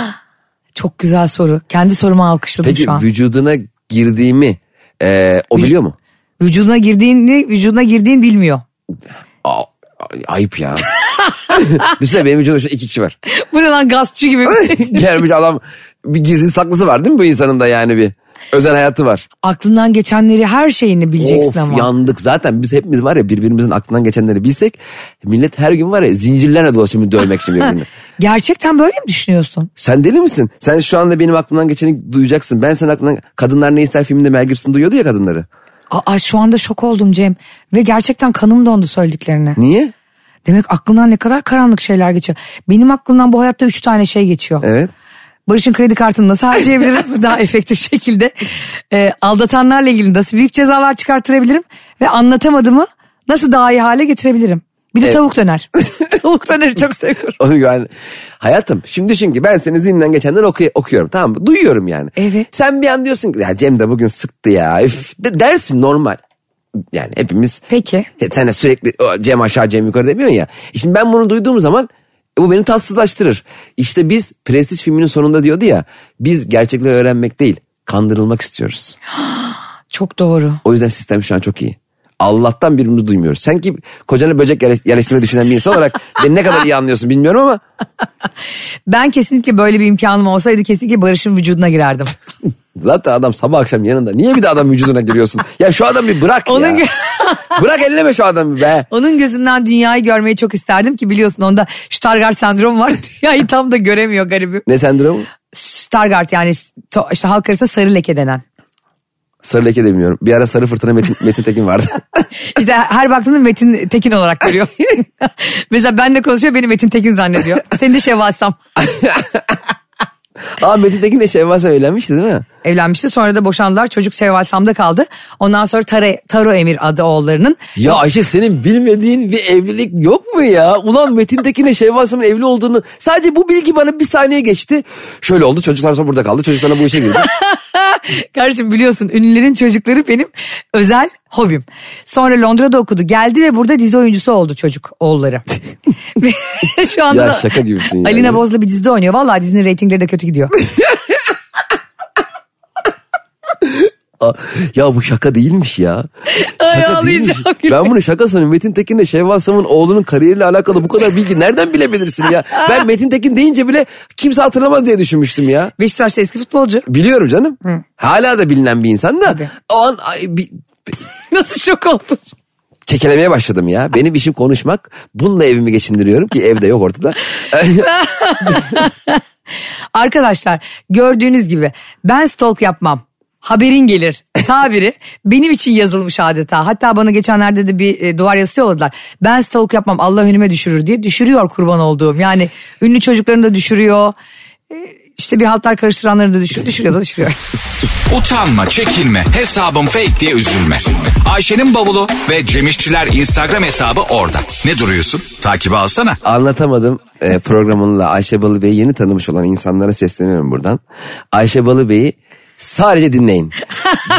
S2: Çok güzel soru. Kendi soruma alkışladım
S3: peki
S2: şu an.
S3: vücuduna girdiğimi e, o biliyor mu?
S2: Vücuduna girdiğini vücuduna girdiğin bilmiyor.
S3: Aa, ayıp ya. Düşünsene benim vücudumda şu iki kişi var.
S2: Bu ne lan gaspçı gibi.
S3: Gelmiş adam bir gizli saklısı var değil mi bu insanın da yani bir özel hayatı var.
S2: Aklından geçenleri her şeyini bileceksin
S3: Of
S2: ama.
S3: yandık zaten biz hepimiz var ya birbirimizin aklından geçenleri bilsek millet her gün var ya zincirlerle dolaşıyor bir dövmek için birbirini.
S2: Gerçekten böyle mi düşünüyorsun?
S3: Sen deli misin? Sen şu anda benim aklımdan geçeni duyacaksın. Ben senin aklından Kadınlar Ne ister filminde Mel Gibson duyuyordu ya kadınları.
S2: Aa şu anda şok oldum Cem. Ve gerçekten kanım dondu söylediklerine.
S3: Niye?
S2: Demek aklından ne kadar karanlık şeyler geçiyor. Benim aklımdan bu hayatta üç tane şey geçiyor.
S3: Evet.
S2: Barış'ın kredi kartını nasıl harcayabilirim daha efektif şekilde? Ee, aldatanlarla ilgili nasıl büyük cezalar çıkartırabilirim? Ve anlatamadığımı nasıl daha iyi hale getirebilirim? Bir de tavuk döner. tavuk döneri çok seviyorum.
S3: Onu yani hayatım şimdi düşün ki ben senin zihninden geçenleri oku- okuyorum tamam mı? Duyuyorum yani.
S2: Evet.
S3: Sen bir an diyorsun ki ya Cem de bugün sıktı ya. Üf, de- dersin normal. Yani hepimiz
S2: Peki.
S3: E, Sen de sürekli "O, Cem aşağı Cem yukarı demiyorsun ya. E Şimdi ben bunu duyduğum zaman e, bu beni tatsızlaştırır. İşte biz Prestij filminin sonunda diyordu ya biz gerçekleri öğrenmek değil kandırılmak istiyoruz.
S2: Çok doğru.
S3: O yüzden sistem şu an çok iyi. Allah'tan birbirimizi duymuyoruz. Sen ki kocana böcek yerleş- yerleştirmeyi düşünen bir insan olarak beni ne kadar iyi anlıyorsun bilmiyorum ama
S2: Ben kesinlikle böyle bir imkanım olsaydı kesinlikle Barış'ın vücuduna girerdim.
S3: zaten adam sabah akşam yanında. Niye bir de adam vücuduna giriyorsun? Ya şu adam bir bırak
S2: Onun
S3: ya.
S2: gö-
S3: bırak elleme şu adamı be.
S2: Onun gözünden dünyayı görmeyi çok isterdim ki biliyorsun onda Stargardt sendromu var. Dünyayı tam da göremiyor garibim.
S3: Ne sendromu?
S2: Stargardt yani işte- işte halk arasında sarı leke denen.
S3: Sarı leke de bilmiyorum. Bir ara sarı fırtına Metin, Metin Tekin vardı.
S2: İşte her baktığında Metin Tekin olarak görüyor. Mesela ben de konuşuyor beni Metin Tekin zannediyor. Seni de Şevvalsam.
S3: Aa Metin Tekin de Şevval Sam evlenmişti değil mi?
S2: Evlenmişti sonra da boşandılar çocuk Şevvalsam'da kaldı. Ondan sonra Tara, Taro Emir adı oğullarının.
S3: Ya Ayşe senin bilmediğin bir evlilik yok mu ya? Ulan Metin Tekin'le Şevval Sam'ın evli olduğunu sadece bu bilgi bana bir saniye geçti. Şöyle oldu çocuklar sonra burada kaldı. Çocuk sonra bu işe girdi.
S2: Kardeşim biliyorsun ünlülerin çocukları benim özel hobim. Sonra Londra'da okudu geldi ve burada dizi oyuncusu oldu çocuk oğulları. Ve Şu anda
S3: Ya
S2: da
S3: şaka gibisin yani.
S2: Alina Boz'la bir dizide oynuyor. Vallahi dizinin reytingleri de kötü gidiyor.
S3: Aa, ya bu şaka değilmiş ya.
S2: Ay
S3: Şaka değilmiş.
S2: ağlayacağım.
S3: Ben bunu şaka sanıyorum. Metin Tekin'le Şevval Sam'ın oğlunun kariyeriyle alakalı bu kadar bilgi nereden bilebilirsin ya? Ben Metin Tekin deyince bile kimse hatırlamaz diye düşünmüştüm ya.
S2: Beşiktaş'ta eski futbolcu.
S3: Biliyorum canım. Hala da bilinen bir insan da.
S2: Tabii.
S3: O an ay, bir,
S2: Nasıl şok oldun?
S3: kekelemeye başladım ya. Benim işim konuşmak. Bununla evimi geçindiriyorum ki evde yok ortada.
S2: Arkadaşlar gördüğünüz gibi ben stalk yapmam. Haberin gelir tabiri benim için yazılmış adeta. Hatta bana geçenlerde de bir e, duvar yazısı yolladılar. Ben stalk yapmam Allah önüme düşürür diye düşürüyor kurban olduğum. Yani ünlü çocuklarını da düşürüyor. E, işte bir haltlar karıştıranları da düşürüyor, düşürüyor da düşürüyor.
S1: Utanma, çekinme, hesabım fake diye üzülme. Ayşe'nin bavulu ve Cemişçiler Instagram hesabı orada. Ne duruyorsun? Takibi alsana.
S3: Anlatamadım e, programınla Ayşe Balıbey'i yeni tanımış olan insanlara sesleniyorum buradan. Ayşe Balıbey'i sadece dinleyin.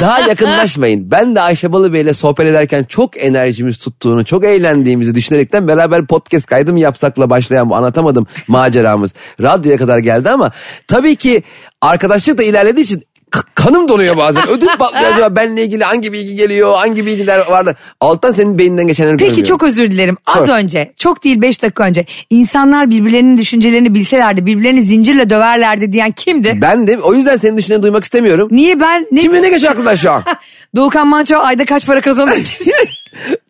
S3: Daha yakınlaşmayın. Ben de Ayşe Balıbey'le sohbet ederken çok enerjimiz tuttuğunu, çok eğlendiğimizi düşünerekten beraber podcast kaydı mı yapsakla başlayan bu anlatamadım maceramız. Radyoya kadar geldi ama tabii ki arkadaşlık da ilerlediği için k- kanım donuyor bazen. Ödüm patlıyor acaba benle ilgili hangi bilgi geliyor, hangi bilgiler vardı. Alttan senin beyninden geçenleri
S2: Peki
S3: görmüyorum.
S2: çok özür dilerim. Az
S3: Sor.
S2: önce, çok değil 5 dakika önce insanlar birbirlerinin düşüncelerini bilselerdi, birbirlerini zincirle döverlerdi diyen kimdi?
S3: Ben de o yüzden senin düşünceni duymak istemiyorum.
S2: Niye ben? Ne?
S3: Kimin ne geçiyor aklından şu an?
S2: Doğukan Manço ayda kaç para kazanır?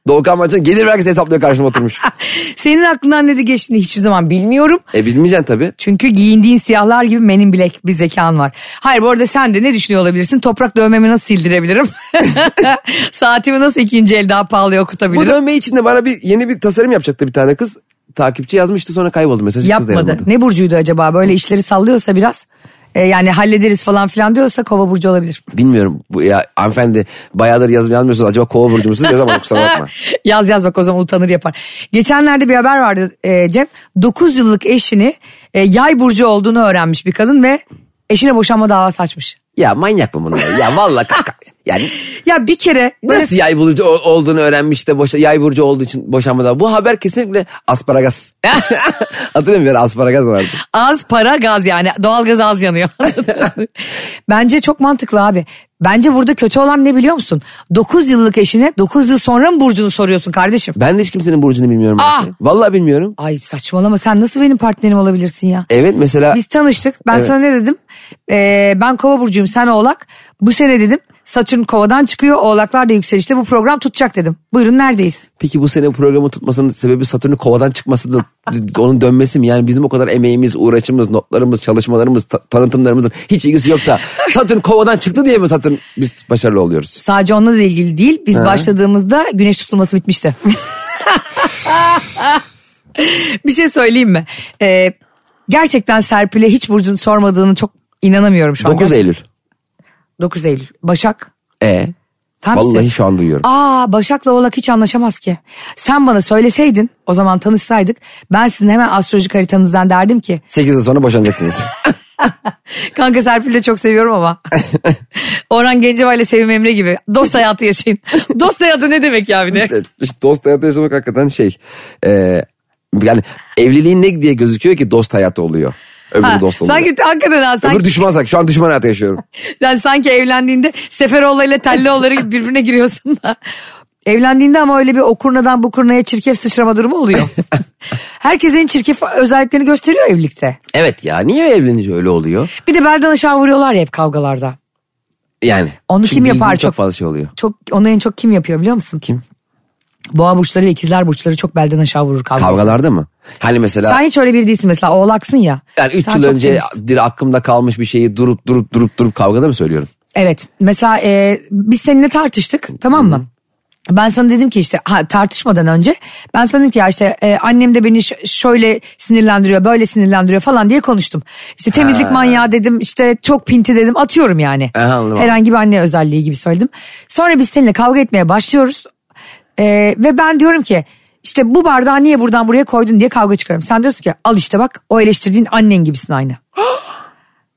S3: Doğukan Maç'ın gelir vergisi hesaplıyor karşıma oturmuş.
S2: Senin aklından ne de geçtiğini hiçbir zaman bilmiyorum.
S3: E bilmeyeceksin tabii.
S2: Çünkü giyindiğin siyahlar gibi menin bilek bir zekan var. Hayır bu arada sen de ne düşünüyor olabilirsin? Toprak dövmemi nasıl sildirebilirim? Saatimi nasıl ikinci el daha pahalıya
S3: Bu
S2: okutabilirim?
S3: dövme içinde bana bir yeni bir tasarım yapacaktı bir tane kız. Takipçi yazmıştı sonra kayboldu mesajı kız da
S2: Yapmadı.
S3: yazmadı.
S2: Ne burcuydu acaba? Böyle işleri sallıyorsa biraz. e, yani hallederiz falan filan diyorsa kova burcu olabilir.
S3: Bilmiyorum bu ya hanımefendi bayağıdır yazıp yazmıyorsunuz acaba kova burcu musunuz yazamadım kusura bakma.
S2: yaz yaz bak o zaman utanır yapar. Geçenlerde bir haber vardı e, Cem. 9 yıllık eşini e, yay burcu olduğunu öğrenmiş bir kadın ve eşine boşanma davası açmış.
S3: Ya manyak mı bunlar? Ya valla kaka. Yani
S2: Ya bir kere böyle
S3: nasıl yay burcu ol- olduğunu öğrenmiş de boşa, yay burcu olduğu için boşanmadan. Bu haber kesinlikle asparagas. Hatırlıyor musun? Asparagas vardı.
S2: az para gaz yani doğalgaz az yanıyor. Bence çok mantıklı abi. Bence burada kötü olan ne biliyor musun? 9 yıllık eşine 9 yıl sonra mı burcunu soruyorsun kardeşim?
S3: Ben de hiç kimsenin burcunu bilmiyorum.
S2: Ah!
S3: Ayşe. Vallahi bilmiyorum.
S2: Ay saçmalama sen nasıl benim partnerim olabilirsin ya?
S3: Evet mesela
S2: Biz tanıştık ben
S3: Evet.
S2: sana ne dedim? Ee, ben kova burcuyum sen oğlak. Bu sene dedim Satürn kovadan çıkıyor oğlaklar da yükselişte bu program tutacak dedim. Buyurun neredeyiz?
S3: Peki bu sene programı tutmasının sebebi Satürn'ün kovadan çıkması da onun dönmesi mi? Yani bizim o kadar emeğimiz, uğraşımız, notlarımız, çalışmalarımız, ta- tanıtımlarımızın hiç ilgisi yok da Satürn kovadan çıktı diye mi Satürn biz başarılı oluyoruz?
S2: Sadece onunla da ilgili değil biz başladığımızda güneş tutulması bitmişti. bir şey söyleyeyim mi? Ee, gerçekten Serpil'e hiç burcunu sormadığını çok inanamıyorum şu an.
S3: 9 Eylül.
S2: 9 Eylül. Başak.
S3: E
S2: Tam işte.
S3: vallahi şu an duyuyorum.
S2: Aa Başak'la Oğlak hiç anlaşamaz ki. Sen bana söyleseydin o zaman tanışsaydık ben sizin hemen astrolojik haritanızdan derdim ki
S3: 8 yıl sonra boşanacaksınız.
S2: kanka Serpil'i de çok seviyorum ama Orhan Gencebay ile Sevim Emre gibi dost hayatı yaşayın. dost hayatı ne demek ya bir de.
S3: İşte dost hayatı yaşamak hakikaten şey. e, yani evliliğin ne diye gözüküyor ki dost hayatı oluyor. Öbürü
S2: Ha,
S3: dost oluyor.
S2: sanki hakikaten ha,
S3: Öbürü
S2: sanki,
S3: düşman sanki. Şu an düşman hayatı yaşıyorum.
S2: yani sanki evlendiğinde Seferoğlu ile Tellioğulları gibi birbirine giriyorsun da. Evlendiğinde ama öyle bir o kurnadan bu kurnaya çirkef sıçrama durumu oluyor. Herkesin çirkef özelliklerini gösteriyor evlilikte.
S3: evet ya niye evlenince öyle oluyor?
S2: Bir de belden aşağı vuruyorlar ya hep kavgalarda.
S3: Yani.
S2: Onu
S3: Çünkü
S2: kim yapar
S3: bildiğin
S2: çok-
S3: Çok fazla şey oluyor.
S2: çok onu en çok kim yapıyor biliyor musun? Kim? Boğa burçları ve ikizler burçları çok belden aşağı vurur kavga.
S3: Kavgalarda mı? Hani mesela
S2: Sen hiç öyle biri değilsin mesela oğlaksın ya.
S3: yani 3
S2: Sen
S3: yıl
S2: çok
S3: önce
S2: temizsin.
S3: bir aklımda kalmış bir şeyi durup durup durup durup kavgada mı söylüyorum?
S2: Evet mesela e, biz seninle tartıştık tamam mı? Ben sana dedim ki işte ha, tartışmadan önce ben sana dedim ki ya işte e, annem de beni ş- şöyle sinirlendiriyor böyle sinirlendiriyor falan diye konuştum. İşte temizlik manyağı dedim işte çok pinti dedim atıyorum yani.
S3: Aha, anladım.
S2: Herhangi bir anne özelliği gibi söyledim. Sonra biz seninle kavga etmeye başlıyoruz E, ve ben diyorum ki işte bu bardağı niye buradan buraya koydun diye kavga çıkarım. Sen diyorsun ki al işte bak o eleştirdiğin annen gibisin aynı.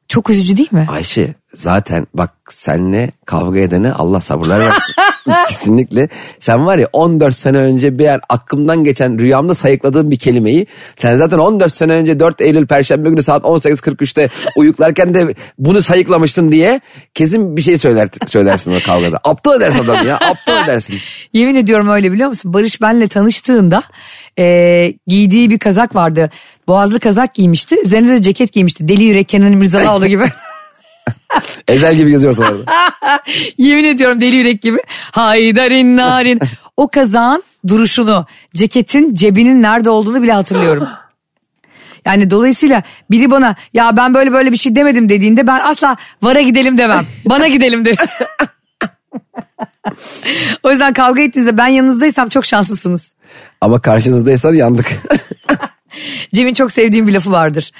S2: çok üzücü değil mi?
S3: Ayşe zaten bak senle kavga edene Allah sabırlar versin. Kesinlikle. Sen var ya 14 sene önce bir yer aklımdan geçen rüyamda sayıkladığım bir kelimeyi sen zaten 14 sene önce 4 Eylül Perşembe günü saat 18.43'te uyuklarken de bunu sayıklamıştın diye kesin bir şey söyler, söylersin o kavgada. Aptal edersin adamı ya aptal edersin.
S2: Yemin ediyorum öyle biliyor musun? Barış benle tanıştığında e, giydiği bir kazak vardı. Boğazlı kazak giymişti. Üzerine de ceket giymişti. Deli yürek Kenan İmirzalıoğlu gibi.
S3: Ezel gibi geziyor ortalarda.
S2: Yemin ediyorum deli yürek gibi. Haydarin narin. O kazağın duruşunu, ceketin cebinin nerede olduğunu bile hatırlıyorum. Yani dolayısıyla biri bana ya ben böyle böyle bir şey demedim dediğinde ben asla vara gidelim demem. Bana gidelim derim. o yüzden kavga ettiğinizde ben yanınızdaysam çok şanslısınız.
S3: Ama karşınızdaysan yandık.
S2: Cem'in çok sevdiğim bir lafı vardır.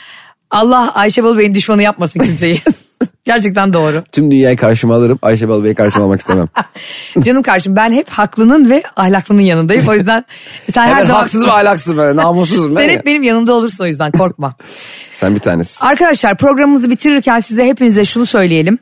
S2: Allah Ayşe Balı Bey'in düşmanı yapmasın kimseyi. Gerçekten doğru.
S3: Tüm dünyayı karşıma alırım Ayşe Balıbey'i karşıma almak istemem.
S2: Canım kardeşim ben hep haklının ve ahlaklının yanındayım. O yüzden sen her
S3: Hemen
S2: zaman...
S3: haksız ve ahlaksız böyle namussuzum ben
S2: Sen
S3: ya.
S2: hep benim yanımda olursun o yüzden korkma.
S3: Sen bir tanesin.
S2: Arkadaşlar programımızı bitirirken size hepinize şunu söyleyelim.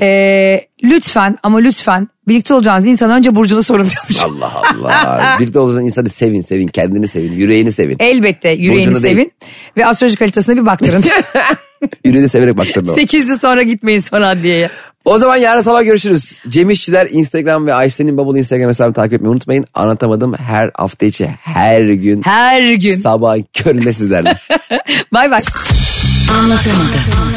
S2: Ee, lütfen ama lütfen birlikte olacağınız insan önce burcunu sorun diyormuş.
S3: Allah Allah. bir de o zaman insanı sevin sevin. Kendini sevin. Yüreğini sevin.
S2: Elbette yüreğini
S3: Burcunu değil.
S2: sevin ve astroloji haritasına bir baktırın.
S3: Yüreğini severek baktırma.
S2: 8'de sonra gitmeyin son adliyeye.
S3: o zaman yarın sabah görüşürüz. Cem İşçiler Instagram ve Ayşe'nin Bubble Instagram hesabını takip etmeyi unutmayın. Anlatamadım her hafta içi her gün
S2: Her gün.
S3: sabah köründe sizlerle.
S2: Bay bay.
S4: Anlatamadım.